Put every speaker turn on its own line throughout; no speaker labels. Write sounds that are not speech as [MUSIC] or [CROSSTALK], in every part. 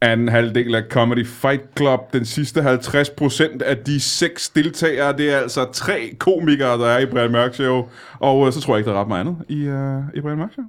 anden halvdel af Comedy Fight Club. Den sidste 50 procent af de seks deltagere, det er altså tre komikere, der er i Brian Mørk Show. Og øh, så tror jeg ikke, der er ret meget andet i, øh, i Brian Mørk Show.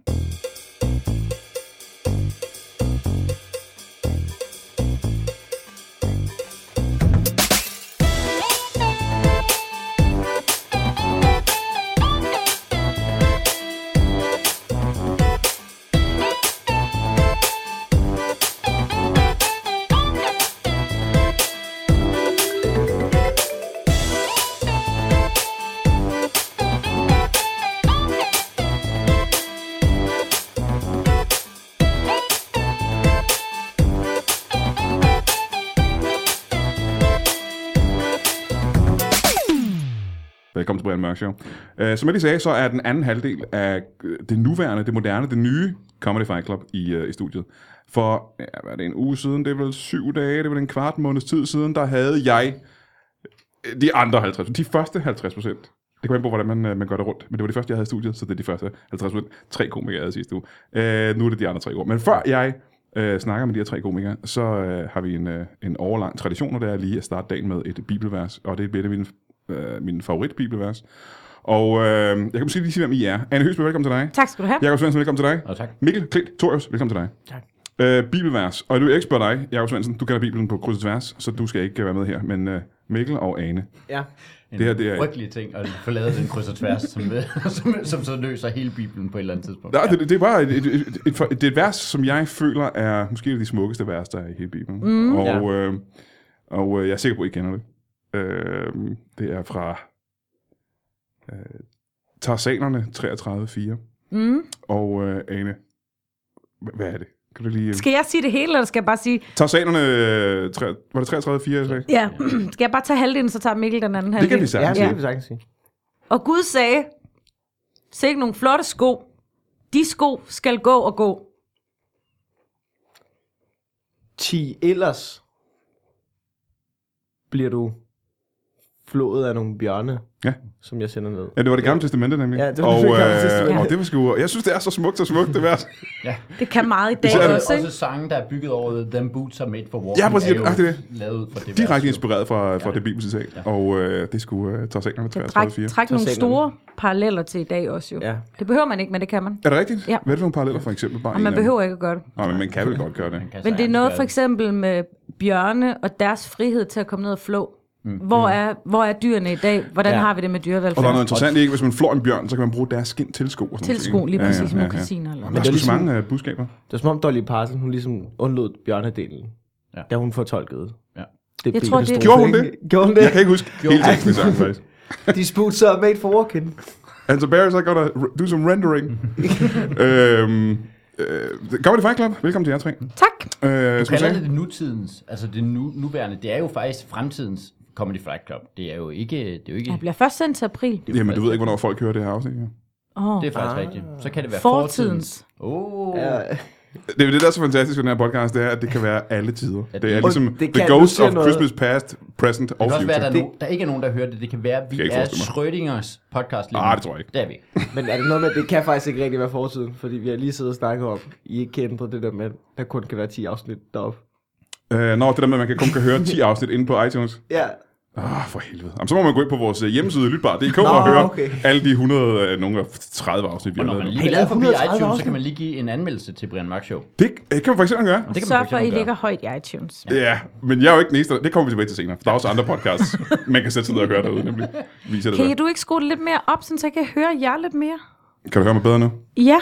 Velkommen til Brian Mørk Show. Øh, som jeg lige sagde, så er den anden halvdel af øh, det nuværende, det moderne, det nye Comedy Fight Club i, øh, i studiet. For, ja, hvad er det, en uge siden? Det er vel syv dage, det er vel en kvart måneds tid siden, der havde jeg øh, de andre 50 De første 50 procent. Det kommer an på, hvordan man, øh, man gør det rundt. Men det var de første, jeg havde i studiet, så det er de første 50 procent. Tre komikere, jeg havde sidste uge. Øh, nu er det de andre tre år. Men før jeg øh, snakker med de her tre komikere, så øh, har vi en, øh, en overlang tradition, og det er lige at starte dagen med et bibelvers. Og det er et af mine øh, min favoritbibelvers. Og øh, jeg kan måske lige sige, hvem I er. Anne Høsby, velkommen til dig.
Tak skal du have.
Jakob Svendsen, velkommen til dig.
Og tak.
Mikkel Klint Torius, velkommen til dig.
Tak.
Øh, bibelvers. Og du er ekspert dig, Jakob Svendsen. Du kender Bibelen på kryds og tværs, så du skal ikke øh, være med her. Men øh, Mikkel og Ane.
Ja. En
Det her, det er-
frygtelig ting at forlade den kryds og tværs, som, [LAUGHS] som, som så løser hele Bibelen på et eller andet tidspunkt.
Nej, det, det er bare et, et, et, et, et, det er et vers, som jeg føler er måske et af de smukkeste vers, der er i hele Bibelen. Mm, og
Ja.
øh, og øh, jeg er sikker på, at I kender det. Øh, det er fra øh, Tarsanerne 33.4.
Mm.
Og øh, Ane, hva- hvad er det? Kan du lige...
Skal jeg sige det hele, eller skal jeg bare sige...
Tarsanerne, øh, tre- var det 33, 4 eller
Ja, [CLEARS THROAT] skal jeg bare tage halvdelen, så tager Mikkel den anden
Det
halvdel?
kan vi
Ja,
sagtens
det
ja.
kan vi sagtens sige.
Og Gud sagde, sikke nogle flotte sko. De sko skal gå og gå.
10 ellers bliver du flået af nogle bjørne,
Ja.
som jeg sender ned.
ja, det var det gamle testamente nemlig.
Ja, det var
og, øh,
det Gamle Testamente.
og det var sgu... Jeg synes, det er så smukt og smukt, det vers.
[LAUGHS]
Det kan meget i dag
Især
Også,
også,
også
ikke?
sange, der er bygget over Them Boots Are Made For Walking,
Ja, præcis.
er jo
Ah, det er det.
lavet ud fra det vers,
Direkte
jo.
inspireret fra, fra det bibelske citat. Og øh, det skulle øh, Tarsanerne
Kan
33,
trække
4.
træk nogle
Totalt enig.
store paralleller til i dag også jo.
Ja.
Det behøver man ikke, men det kan man.
Er det rigtigt?
Ja.
Hvad er det for nogle paralleller, for eksempel? Bare
Og man behøver ikke at gøre det.
Nej, men man kan vel godt gøre det.
Kan
Men det er
sagtens
noget
være
for eksempel med bjørne og deres frihed til at komme ned og flå. Hvor er, hvor er dyrene i dag? Hvordan
Ja.
har vi det
Mm.
med
Og
dyrevelfærd?
der er noget interessant, ikke? Hvis man flår en bjørn, så kan man bruge deres skin til sko. og sådan nogle
Tilsko,
ting.
lige
Ja, ja,
præcis,
ja, ja.
mokkasiner eller
Men Der er
Det
sgu
er
så
ligesom-
mange øh, budskaber.
Det er som om Dolly Parton, hun ligesom undlod bjørnedelen,
Ja.
ja. da hun fortolkede.
Ja.
Det
Jeg tror, det-
bibelstort,
Gjorde hun
ikke? Gjorde hun
Jeg
det?
kan ikke huske hele teksten i sangen,
[LAUGHS]
faktisk. Altså,
These boots are made for walking.
Anton Barris, I gotta r- do some
[LAUGHS]
rendering. øhm, øh, Comedy Fight Club, velkommen til jer tre. Øh,
Tak.
Du
som jeg
kalder
sagde,
det det nutidens, altså det nu, nuværende, det er jo faktisk fremtidens Comedy Fight Club. Det er jo ikke, det er jo ikke,
Jeg bliver først sendt til april.
Jamen, du ved ikke, hvornår folk hører det her afsnit. Ja.
Åh,
det er faktisk rigtigt. Så kan det være
Fortidens.
fortidens. Åh, oh,
Ja.
ja.
Det er jo det, der er så fantastisk ved den her podcast, det er, at det kan være alle tider.
det-
Det er ligesom
Og det
The
kan- du
Ghost
siger
of
noget.
Christmas Past, Present og
Det kan også
Future.
være, at der,
Det-
er no, der ikke er nogen, der hører det. Det kan være, at vi
Kan jeg ikke
er
forestille
Schrödingers podcast lige
Ah, det tror jeg ikke.
Det er vi. ikke.
Men er det noget med, at det kan faktisk ikke rigtig være fortiden, fordi vi har lige siddet og snakket om, I ikke kan ændre det der med, at der kun kan være 10 afsnit deroppe.
Øh, Nå, det der med, at man kan kun kan høre 10 afsnit inde på iTunes.
Ja,
Ah, for helvede. Jamen, så må man gå ind på vores øh, hjemmeside, lytbar.dk, og
Nå,
høre
okay.
alle de 100, øh, nogle af 30 afsnit, vi
Og
har
når man
lavet. nu.
lige
lavet
er forbi
130
iTunes, så
afsnit?
kan man lige give en anmeldelse til Brian Mørk Show.
Det øh, kan man for eksempel gøre.
Det kan man
Sørg for, at I
eksempel
ligger
gøre.
højt i iTunes.
Ja, men jeg er jo ikke den eneste. der- Det kommer vi tilbage til senere. for Der er også andre
[LAUGHS]
podcasts, man kan sætte sig ned og gøre derude, nemlig. Viser det der.
Kan du ikke skrue det lidt mere op, sådan så jeg kan høre jer lidt mere?
Kan du høre mig bedre nu?
Ja,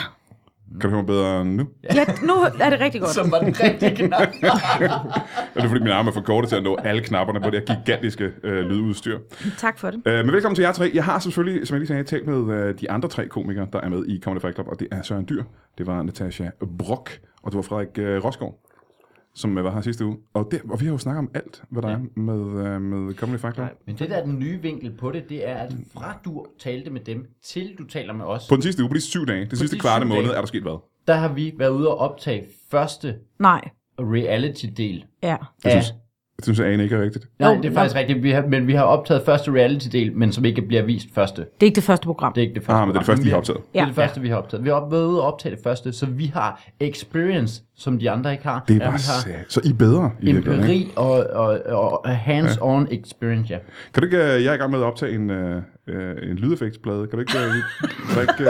Kan du høre mig bedre nu?
ja nu er det rigtig godt.
Som var den rigtige [LAUGHS] knap.
Er det fordi, mine arme er for korte til at nå alle knapperne på det her gigantiske øh, lydudstyr?
Tak for det.
Øh, men velkommen til jer tre. Jeg har selvfølgelig, som jeg lige sagde, talt med øh, de andre tre komikere, der er med i Comedy Fight Club, og det er Søren Dyr, det var Natasha Brock, og det var Frederik øh, Rosgaard, som øh, var her sidste uge. Og, det, og vi har jo snakket om alt, hvad der ja. er med, øh, med Comedy Fight Club.
Men det der er den nye vinkel på det, det er, at fra du talte med dem, til du taler med os,
På den sidste uge, på de syv dage, den sidste
de
kvarte
syv
måned,
dage.
er der sket hvad?
der har vi været ude og optage første
Nej,
reality-del.
ja.
Det
af-
synes, det synes jeg, Ane ikke er rigtigt.
Nej,
Jo,
det er
nå.
faktisk rigtigt, vi har, men vi har optaget første reality-del, men som ikke bliver vist første.
Det er ikke det første program.
Det er ikke det første.
Ah, men det er det første, vi har optaget.
Det er
Ja.
det første, vi har optaget. Vi har været ude og optage det første, så vi har experience som de andre ikke har.
Det
Ja,
var
vi har
sat. Så I er bedre i virkeligheden, ikke?
empiri og, og, og, og hands-on experience, ja.
Kan du ikke, øh, jeg er i gang med at optage en, øh, øh, en lydeffektsplade. Kan du ikke, øh, [LAUGHS] kan du ikke øh,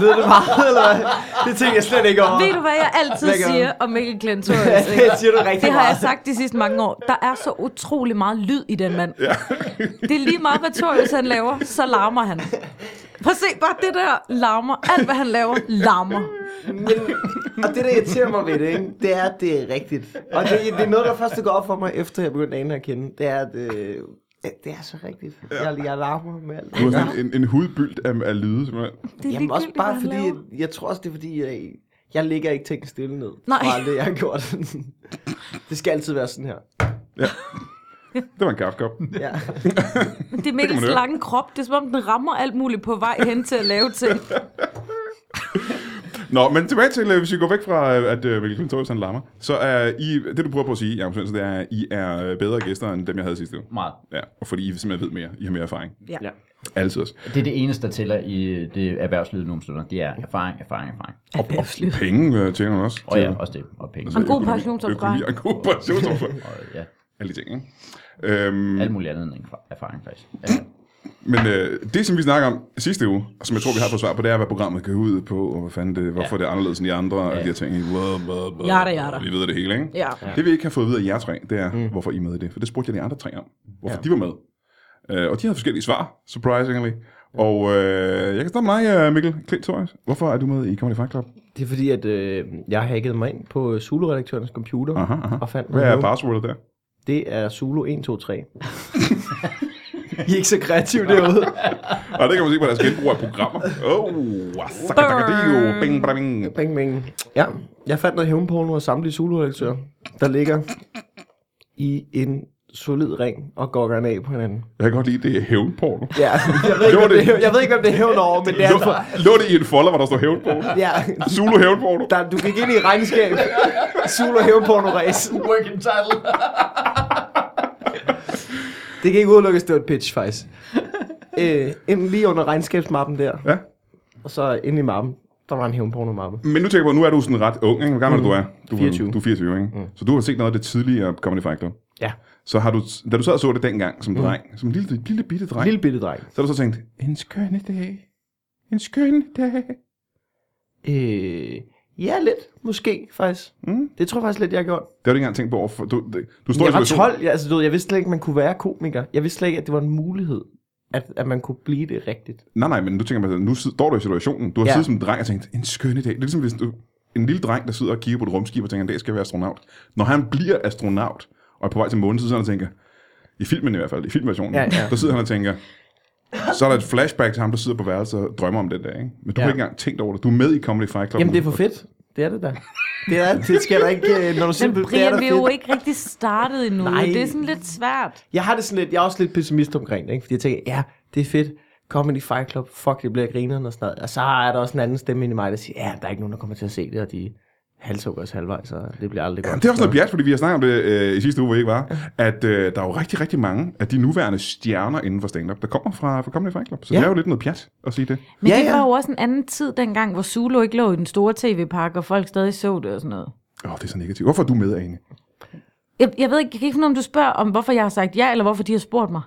Lyder det meget, eller hvad? Det tænker jeg slet ikke over.
Ved du, hvad jeg altid
Lækker.
siger om Mikkel Klentorius? ikke?
Det siger du rigtig
Det har jeg
meget.
sagt de sidste mange år. Der er så utrolig meget lyd i den mand. Ja. det er lige meget, hvad Torius han laver, så larmer han. Prøv at se, bare det der larmer. Alt, hvad han laver, larmer.
Men, og det, der irriterer mig ved det, ikke, det er, at det er rigtigt. Og det, det er noget, der først går op for mig, efter jeg begyndte Ane at kende. Det er, at øh, det er så rigtigt. Jeg, jeg larmer med
[LAUGHS]
alt.
du har sådan en, en hudbyld af, af lyde, simpelthen?
Det er
Jamen også
ligegyldigt,
bare
hvad han
fordi,
laver.
jeg, jeg tror også, det er fordi, jeg, jeg ligger ikke tænken stille ned.
Nej.
Fra alt det, jeg har gjort. [LAUGHS] det skal altid være sådan her.
Det var en kaffekop.
Ja.
Men Det er Mikkels
man høre.
lange krop. Det er som om, den rammer alt muligt på vej hen til at lave ting.
Nå, men tilbage til, øh, hvis vi går væk fra, øh, at øh, Mikkel Klintorius han lammer, så er I, det du prøver på at sige, Jacob Svendsen, det er, at I er øh, bedre gæster, end dem, jeg havde sidste uge.
Meget.
Ja, og fordi I simpelthen ved mere. I har mere erfaring.
Ja.
Ja.
Altid også.
Det er det eneste, der tæller i det erhvervslivet nogle stunder. Det er erfaring, erfaring, erfaring.
Og, og penge øh, tjener man også.
Og ja, også det. Og penge.
Så
En god
økonomi-
pensionsopsparing.
økonomi og En god
[LAUGHS]
pensionsopsparing.
Og ja,
Alle de ting, ikke? Øhm,
alt muligt andet end erfaring, faktisk. Ja.
men øh, det, som vi snakker om sidste uge, og som jeg tror, vi har fået svar på, det er, hvad programmet går ud på, og hvad fanden det, hvorfor ja. det er anderledes end de andre, og de her ting. Blah, blah, blah,
Yada, yada.
Vi ved det hele, ikke?
Ja.
Det, vi ikke har fået at vide af jer tre, det er, mm. hvorfor I er med i det. For det spurgte jeg de andre tre om, hvorfor ja. de var med. Øh, og de havde forskellige svar, surprisingly. Og øh, jeg kan starte med dig, øh, Mikkel Klint Thoris. Hvorfor er du med i Comedy Fight Club?
Det er fordi, at øh, jeg hackede mig ind på Zulu-redaktørens computer
Aha, aha.
og fandt
Hvad
nogle-
er passwordet der?
Det er Zulu 1, 2, 3. [LAUGHS] I er ikke så kreative derude.
Og det kan man se på deres genbrug af programmer. Oh, sakadakadio, bing, bada, bing.
Bing, bing. Ja, jeg fandt noget hævnporno af samtlige zulu der ligger i en solid ring og gokker af på hinanden.
Jeg kan godt lide, det er hævnporno.
Ja, jeg [LAUGHS] ved, ikke,
Jo,
hvem
det-
det, er hævn- jeg ved ikke, hvem det er hævn over, men det er
Lå,
altså...
lå det i en folder, hvor der står hævnporno?
Ja,
Zulu hævnporno.
der, du gik ind i et regnskab. Zulu hævnporno race.
Working title.
Det kan ikke udelukkes, det var et pitch, faktisk. Øh, ind lige under regnskabsmappen der,
Ja.
og så inde i mappen, der var en hævnporno-mappe.
Men nu tænker jeg på, nu er du sådan ret ung, ikke? Hvor gammel mm. du er? Du, er-
24.
Du er 24, ikke? Mm. Så du har set noget af det tidligere Comedy Fight Club.
Ja,
Så har du, da du sad og så det dengang som dreng, som en lille, lille bitte dreng,
Mm. lille bitte dreng.
så har du så tænkt, en skønne dag, en skønne dag.
Øh, ja, lidt. Måske, faktisk.
Mm.
Det tror jeg faktisk lidt, jeg har gjort.
Det har du ikke engang tænkt på overfor. Du, det- du står i
Jeg var
en situation-
12, jeg, altså, du ved, jeg vidste slet ikke, man kunne være komiker. Jeg vidste slet ikke, at det var en mulighed, at, at man kunne blive det rigtigt.
Nej, nej, men du tænker bare, sådan, nu sid- står du i situationen. Du har ja.
Ja.
siddet som en dreng og tænkt, en skønne dag. Det er ligesom hvis du, en lille dreng, der sidder og kigger på et rumskib og tænker, en dag skal jeg være astronaut. Når han bliver astronaut og er på vej til månen, så sidder han og tænker, i filmen i hvert fald, i filmversionen,
Ja, ja.
der sidder han og tænker, så er der et flashback til ham, der sidder på værelset og drømmer om den dag. Ikke? Men du ja.
Ja.
har ikke engang tænkt over det. Du er med i Comedy Fight Club.
Jamen,
nu.
det er for fedt. Det er det da. [LAUGHS] Det, er, det skal der ikke, øh, når du siger,
Men
det, det er da
Brian, vi er jo
fedt.
ikke rigtig startet endnu.
Nej.
Det er sådan lidt svært.
Jeg har det sådan lidt, jeg er også lidt pessimist omkring det, ikke? fordi jeg tænker, ja, det er fedt. Comedy Fight Club, fuck, det bliver grineren og sådan noget. Og så er der også en anden stemme inde i mig, der siger, ja, der er ikke nogen, der kommer til at se det, og de halshugger os halvvejs, og det bliver aldrig godt.
Jamen, det er også noget pjat, fordi vi har snakket om det øh, i sidste uge, hvor I ikke var, at øh, der er jo rigtig, rigtig mange af de nuværende stjerner inden for stand-up, der kommer fra, fra Comedy Fight Club. Så ja.
Ja.
det er jo lidt noget pjat at sige det.
Men
Ja,
ja, det
ja.
var jo også en anden tid dengang, hvor Zulu ikke lå i den store tv-pakke, og folk stadig så det og sådan noget.
Åh, oh, det er så negativt. Hvorfor er du med, Ane?
Jeg, jeg ved ikke, jeg kan ikke finde ud af, om du spørger om, hvorfor jeg har sagt ja, eller hvorfor de har spurgt mig.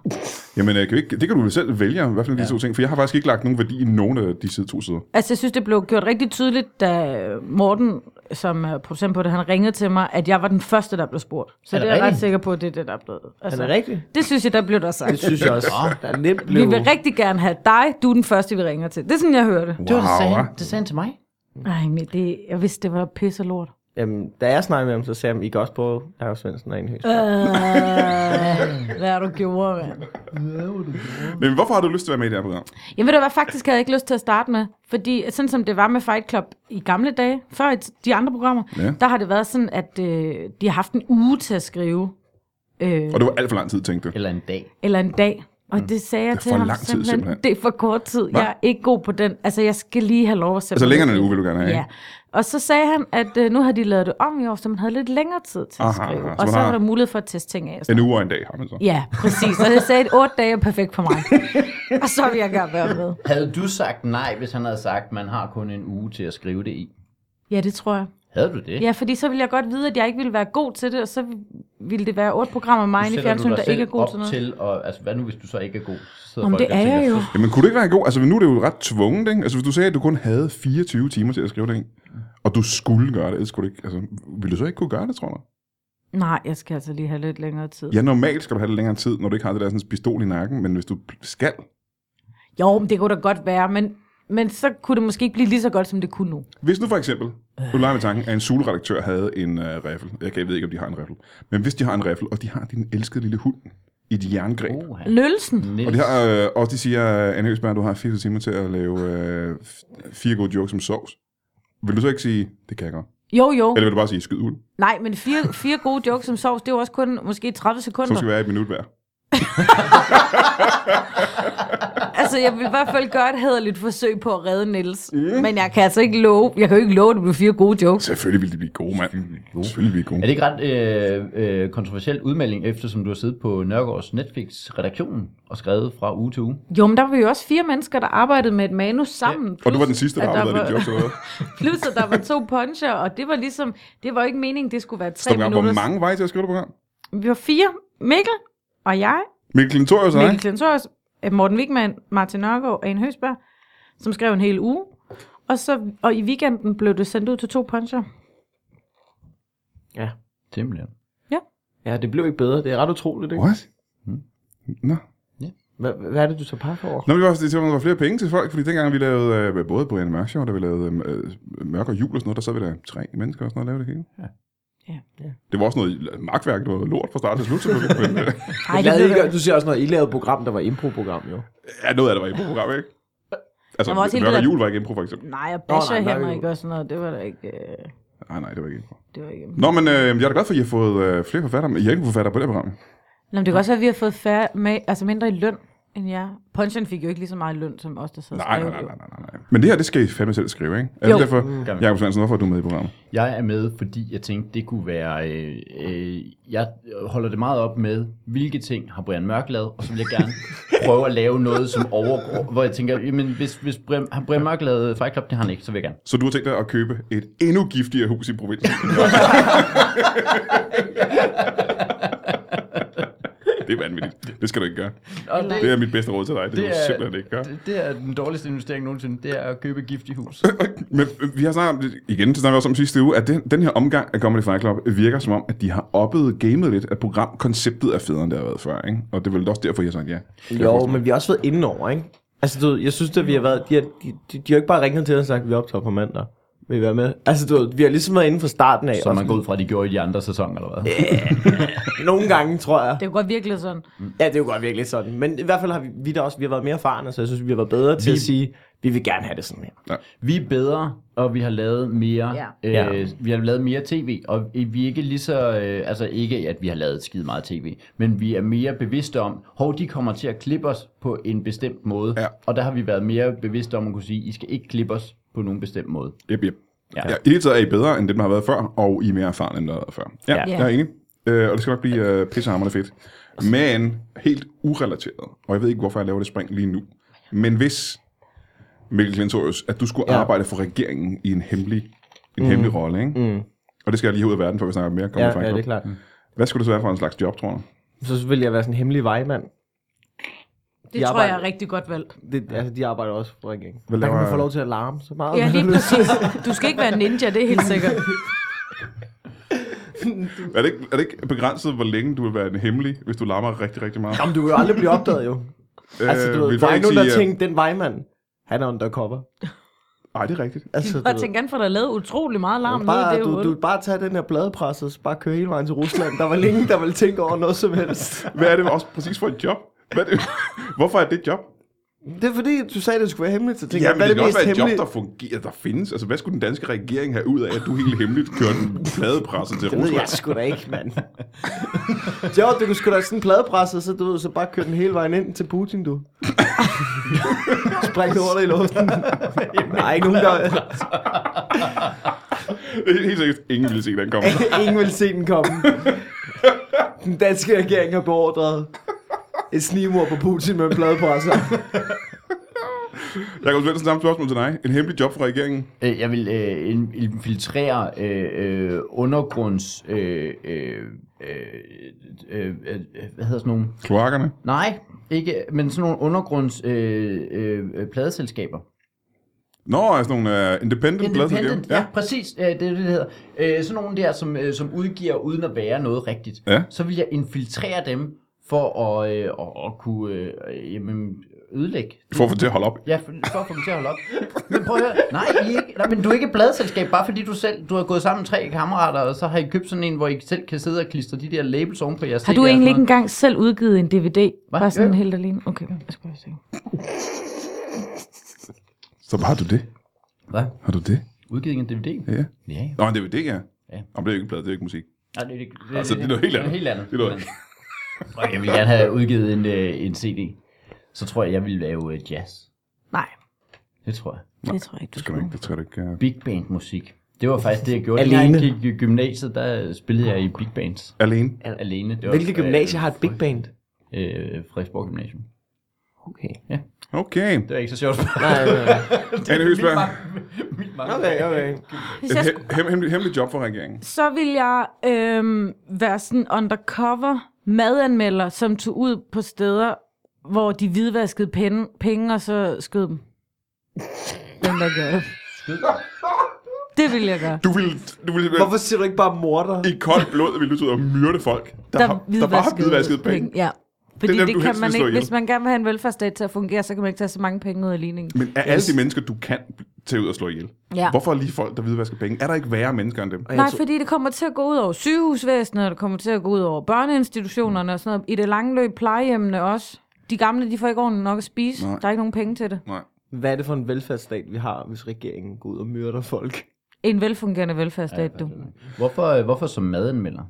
Jamen, øh, kan vi ikke, det kan du vel selv vælge, hvad for ja. de to ting, for jeg har faktisk ikke lagt nogen værdi i nogen af de side, to sider.
Altså, jeg synes, det blev gjort rigtig tydeligt, da Morten, som er producent på det, han ringede til mig, at jeg var den første, der blev spurgt. Så
Er
er
det
det er jeg ret
rigtigt?
sikker på, at det er det, der er blevet.
Er
Altså,
det rigtigt?
det synes jeg, der blev der
Det
sagt.
synes jeg også. Der er nemt
Vi
blev...
vil rigtig gerne have dig. Du er den første, vi ringer til. Det er sådan, jeg hører det.
Wow,
Det var det, sagde
hva'?
han, det sagde han til mig.
Nej, men det, jeg vidste, det var pisse og lort.
Jamen, da jeg snakkede med ham, så sagde han, I kan også prøve Jacob Svendsen og en høst.
Øh, hvad har du gjort, mand?
Men hvorfor har du lyst til at være med i det her program?
Jeg ved da hvad, faktisk havde jeg ikke lyst til at starte med, fordi sådan som det var med Fight Club i gamle dage, før i t- de andre programmer,
Ja.
ja. der har det været sådan, at øh, de har haft en uge til at skrive, øh,
Og det var alt for lang tid, tænkte du.
Eller en dag.
eller en dag. Og det sagde jeg
Mm. Det er
til
for
ham
lang tid, simpelthen.
Det er for kort tid. Jeg er ikke god på den. Altså, jeg skal lige have lov at sætte
Altså
mig
længere end
ned.
en uge vil du gerne have,
Ja.
ikke?
Og så sagde han, at øh, nu havde de lavet det om i år, så man havde lidt længere tid til at
Aha,
skrive.
aha. Så
Og
man
så
har-
var der mulighed for at teste ting af. og sådan
En uge og en dag har man så.
Ja, præcis. Og jeg sagde, at otte dage er perfekt for [LAUGHS] mig. og så vil jeg gerne være med.
Havde du sagt nej, hvis han havde sagt, man har kun en uge til at skrive det i?
Ja, det tror jeg.
Havde du det?
Ja, fordi så ville jeg godt vide, at jeg ikke ville være god til det, og så ville det være otte programmer med
Nu
mig inde i
sætter du
fjernsynet,
dig
der ikke
selv
er god
op
til noget.
Til, og, altså, hvad nu, hvis du så ikke er god? Så sidder
Om
folk
det
og
er
tænker,
jeg jo.
"Fedt."
Jamen kunne du ikke være god? Altså nu er det jo ret tvunget, ikke? Altså hvis du sagde, at du kun havde 24 timer til at skrive det, ikke? Og du skulle gøre det, ellers skulle du ikke... Altså, ville du så ikke kunne gøre det, tror du?
Nej, jeg skal altså lige have lidt længere tid.
Ja, normalt skal du have det længere tid, når du ikke har det der sådan pistol i nakken, men hvis du skal...
Jo, men det kunne da godt være, men, men så kunne det måske ikke blive lige så godt, som det kunne nu.
Hvis nu for eksempel, du leger med tanken, at en solredaktør havde en øh, riffel. Jeg, kan, jeg ved ikke, om de har en riffel. Men hvis de har en riffel, og de har din elskede lille hund i et jerngreb,
Uha.
Nølsen?
Niels.
Og de har, øh, også de siger, øh, Anne Høsberg, du har 80 timer til at lave øh, f- fire gode jokes som sovs. Vil du så ikke sige, det kan jeg godt?
Jo, jo.
Eller vil du bare sige, skyd ud?
Nej, men fire, fire gode jokes som sovs, det er jo også kun måske 30
Som
sekunder.
skal være et minut hver.
Altså, jeg vil i hvert fald gøre et hederligt forsøg på at redde Niels. Mm.
Øh?
Men jeg kan altså ikke love, jeg kan jo ikke love, at det bliver fire gode jokes.
Selvfølgelig vil de blive gode, mand. Selvfølgelig vil de blive
Er
gode.
det ikke ret øh, øh, kontroversiel udmelding, eftersom du har siddet på Nørgaards Netflix-redaktion og skrevet fra uge til uge?
Jo, men der var jo også fire mennesker, der arbejdede med et manus sammen.
Og du var den sidste, der
at
arbejdede
var-
dit jokes eller hvad?
Plus, at der var to puncher, og det var ligesom, det var jo ikke meningen, det skulle være
Stop
tre
en gang.
minutter.
Hvor mange var I til at skrive det program?
Vi var fire. Mikkel og jeg,
Mikkel Klintorius og dig?
Mikkel Klintorius, Morten Wigman, Martin Nørgaard og Anne Høsberg, som skrev en hel uge. Og, så, og i weekenden blev det sendt ud til to puncher.
Ja.
Simpelthen.
ja, det blev ikke bedre. Det er ret utroligt, ikke?
What?
Mm.
Nå.
Hvad, hvad er det, du så pakker over?
Nå, men det var også det, der var flere penge til folk, fordi dengang vi lavede, øh, både Brian Mørk Show, og da vi lavede øh, Mørk og Jul og sådan noget, der sad vi der tre mennesker og sådan noget og lavede det hele.
Ja.
Ja.
Det var også noget magtværk, det var lort fra start til slut selvfølgelig, men
[LAUGHS]
øh,
Ej,
Jeg lavede
det
ikke,
blev
du siger også noget, I lavede et program, der var improprogram, jo.
ja, noget af det var i program, ikke? Altså,
Der var også hele
Mørk
det
og
der-
Jul var ikke impro, for eksempel.
Nej, jeg basher
Nå, nej,
Henrik
nej.
og sådan noget. Det var da ikke... øh,
Nej, nej, det var ikke impro.
Det var ikke...
Nå, men øh, jeg er da glad for, at I har fået øh, flere forfattere, men I er ikke forfattere på det her program.
Nå, men det kan også være, at vi har fået færre med, altså mindre i løn end jer. Punchen fik jo ikke lige så meget i løn, som os, der sad og
Nej, nej,
skrev
nej,
jo.
nej, nej, nej. Men det her, det skal I fandme selv skrive, ikke? Er det
Jo.
derfor,
Gerne.
Jacob Svendsen, hvorfor er du med i programmet?
Jeg er med, fordi jeg tænkte, det kunne være... Øh, øh, jeg holder det meget op med, hvilke ting har Brian Mørk lavet, og så vil
[LAUGHS]
jeg gerne prøve at lave noget, som overgår... Hvor jeg tænker, jamen, hvis, hvis Brian, har Brian Mørk lavet Fight Club, det har han ikke, så vil jeg gerne.
Så du har tænkt dig at købe et endnu giftigere hus i provinsen. det er vanvittigt. Det skal du ikke gøre.
Og det,
Det er mit bedste råd til dig. Det, det
det
du simpelthen ikke gøre.
det, det er den dårligste investering nogensinde, det er at købe et giftigt hus.
Men vi har snart, igen, det snakker vi også om sidste uge, at den, den her omgang af Comedy Fight Club virker som om, at de har oppet gamet lidt, at programkonceptet er federe, end det har været før, ikke? Og det er vel også derfor, jeg har sagt ja.
Jo, men vi har også været indenover, ikke? Altså, du ved, jeg synes, at vi har været... De har, de, de, de har ikke bare ringet til os og sagt, at vi optager på mandag. Vil I være med? Altså, du ved, vi har ligesom været inde fra starten af.
Så
og
man går ud fra, at de gjorde i de andre sæsoner, eller hvad?
Nogle gange, tror jeg.
Det var godt virkelig sådan.
Ja, det er jo godt virkelig sådan. Men i hvert fald har vi, vi da også, vi har været mere erfarne, så jeg synes, vi har været bedre til
Vi-
at sige, vi vil gerne have det sådan her.
Vi er bedre, og vi har lavet mere.
Ja.
Øh, vi har lavet mere tv, og vi er ikke lige så, øh, altså ikke at vi har lavet skide meget tv, men vi er mere bevidste om, hov, de kommer til at klippe os på en bestemt måde,
Ja.
og der har vi været mere bevidste om at kunne sige, I skal ikke klippe os på nogen bestemt måde.
Yep, yep. Ja.
Ja.
ja. I det hele taget er I bedre, end dem, der har været før, og I er mere erfarne, end der har været før. Ja, ja.
Ja.
jeg er enig. Øh, og det skal nok blive øh, pissehammerende fedt. Men helt urelateret, og jeg ved ikke, hvorfor jeg laver det spring lige nu, men hvis, Mikkel Klintorius, at du skulle ja.
Ja.
arbejde for regeringen i en hemmelig, en mm. hemmelig rolle, ikke? Mm. og det skal jeg lige have ud af verden, for vi snakker mere. om
Ja,
Fight
ja, det
Club.
er klart.
Hvad skulle det så være for en slags job, tror du?
Så vil jeg være sådan en hemmelig vejmand.
Det
Jeg
tror jeg er
arbejder-
rigtig godt valgt.
Det, altså, de arbejder også for regeringen.
Hvad
Der kan man
laver-
få lov til at larme så meget.
Ja, [LAUGHS]
man
lige
har lyst til.
præcis. Du skal ikke være ninja, det er helt [LAUGHS] sikkert.
Er det, ikke, er det ikke begrænset, hvor længe du vil være en hemmelig, hvis du larmer rigtig, rigtig meget?
Jamen, du vil jo aldrig blive opdaget, jo. Altså, du,
vil
ved, der
folk
er ikke
sige,
nogen, der
øh,
tænker, den vejmand, han er undercover.
Ej, det er rigtigt.
Altså,
Og
ved,
tænk an for, der er lavet utrolig meget larm nu, det
bare,
er jo
du, du
ondt.
bare tage den her bladepresse, og så bare køre hele vejen til Rusland. Der var ingen, der ville tænke over noget som helst.
Hvad er det også præcis for et job? Hvad er det, [LAUGHS] hvorfor er det et job?
Det er fordi, du sagde, det skulle være hemmeligt, så tænkte
Ja, men
jeg, hvad er
det
det
kan også
mest
være et job, der
hemmelige?
fungerer, der findes. Altså, hvad skulle den danske regering have ud af, at du helt hemmeligt kørte en pladepresse til
Det ved jeg
Rusland?
sgu da ikke, mand. [LAUGHS] jo, du kunne sgu da sådan en pladepresse, så du ved, så bare køre den hele vejen ind til Putin, [LAUGHS] du. Spræk over dig i luften. Nej, ikke nogen, der...
Helt, helt seriøst, ingen ville se den komme.
[LAUGHS] Ingen vil se den komme. Den danske regering har beordret et snimor på Putin med en pladepresse.
Jakob Svendsen, samme spørgsmål til dig. En hemmelig job fra regeringen.
Øh, jeg vil øh, in- infiltrere øh, øh, undergrunds... Øh, øh, øh, øh, øh, hvad hedder sådan nogle?
Kloakkerne.
Nej, ikke, men sådan nogle undergrunds øh, øh, øh, pladeselskaber.
Nå, altså nogle uh, independent,
Independent, ja,
Ja.
ja præcis, øh, det er det, det hedder. Øh, sådan nogle der, som, øh, som udgiver uden at være noget rigtigt.
Ja.
Så vil jeg infiltrere dem for at, øh, at, at kunne øh, øh, jamen, ødelægge
For at få til at holde op.
Ja, for, for at få dem til at holde op. Men prøv at høre, nej, I er ikke, nej, men du er ikke et bladselskab, bare fordi du selv, du har gået sammen med tre kammerater, og så har I købt sådan en, hvor I selv kan sidde og klistre de der labels oven på jeres
Har du egentlig ikke engang selv udgivet en DVD?
Hvad?
Bare sådan
Jo, jo.
helt alene? Okay, jeg skal bare se.
Så har du det.
Hvad?
Har du det?
Udgivet en DVD?
Ja.
Ja, ja.
Nå, en DVD, ja.
Ja.
Nå, men det er jo ikke en plade, det er jo ikke musik.
Nej, det, det, det,
Altså, det er noget helt andet.
helt andet.
Det er noget-
Og jeg vil gerne have udgivet en, øh, en CD. Så tror jeg, jeg ville lave øh, jazz.
Nej,
Det tror jeg.
det tror jeg ikke, du
Det skal man
skulle.
ikke, det tror jeg du ikke. øh.
Big band musik. Det var faktisk det, jeg gjorde. Alene.
Alene.
Da jeg gik i gymnasiet, der spillede jeg i big bands.
Alene.
Alene. Det var,
Hvilke gymnasier har et big band?
Øh, Frederiksborg Gymnasium.
Okay.
Okay.
Det var ikke så sjovt. [LAUGHS]
Nej, nej, nej.
Anne Høsberg.
Okay, okay.
Hvis
En
jeg
he- hem- hemmelig, hemmelig job for regeringen.
så vil jeg øhm, være sådan undercover madanmelder, som tog ud på steder, hvor de hvidvaskede penge, penge og så skød dem. Dem, der gør det. Det vil jeg gøre.
Du ville, du ville
Hvorfor siger du ikke bare morder?
i koldt blod ville du ud og myrde folk, der, der, der bare har hvidvasket penge.
Ja. Fordi
dem,
det,
du helst
det kan
vil
man
slå
ikke.
ihjel.
Hvis man gerne vil have en velfærdsstat til at fungere, så kan man ikke tage så mange penge ud af ligningen.
Men er alle de mennesker, du kan tage ud og slå ihjel?
Ja.
Hvorfor lige folk, der hvidvasker penge? Er der ikke værre mennesker end dem?
Og jeg
Nej,
tror-
fordi det kommer til at gå ud over sygehusvæsenet, og det kommer til at gå ud over børneinstitutionerne og sådan noget. I det lange løb plejehjemmene også. De gamle, de får ikke ordentligt nok at spise.
Nej.
Der er ikke nogen penge til det.
Nej.
Hvad er det for en velfærdsstat, vi har, hvis regeringen går ud og myrder folk?
En velfungerende velfærdsstat, du.
Hvorfor, øh, hvorfor som madanmelder?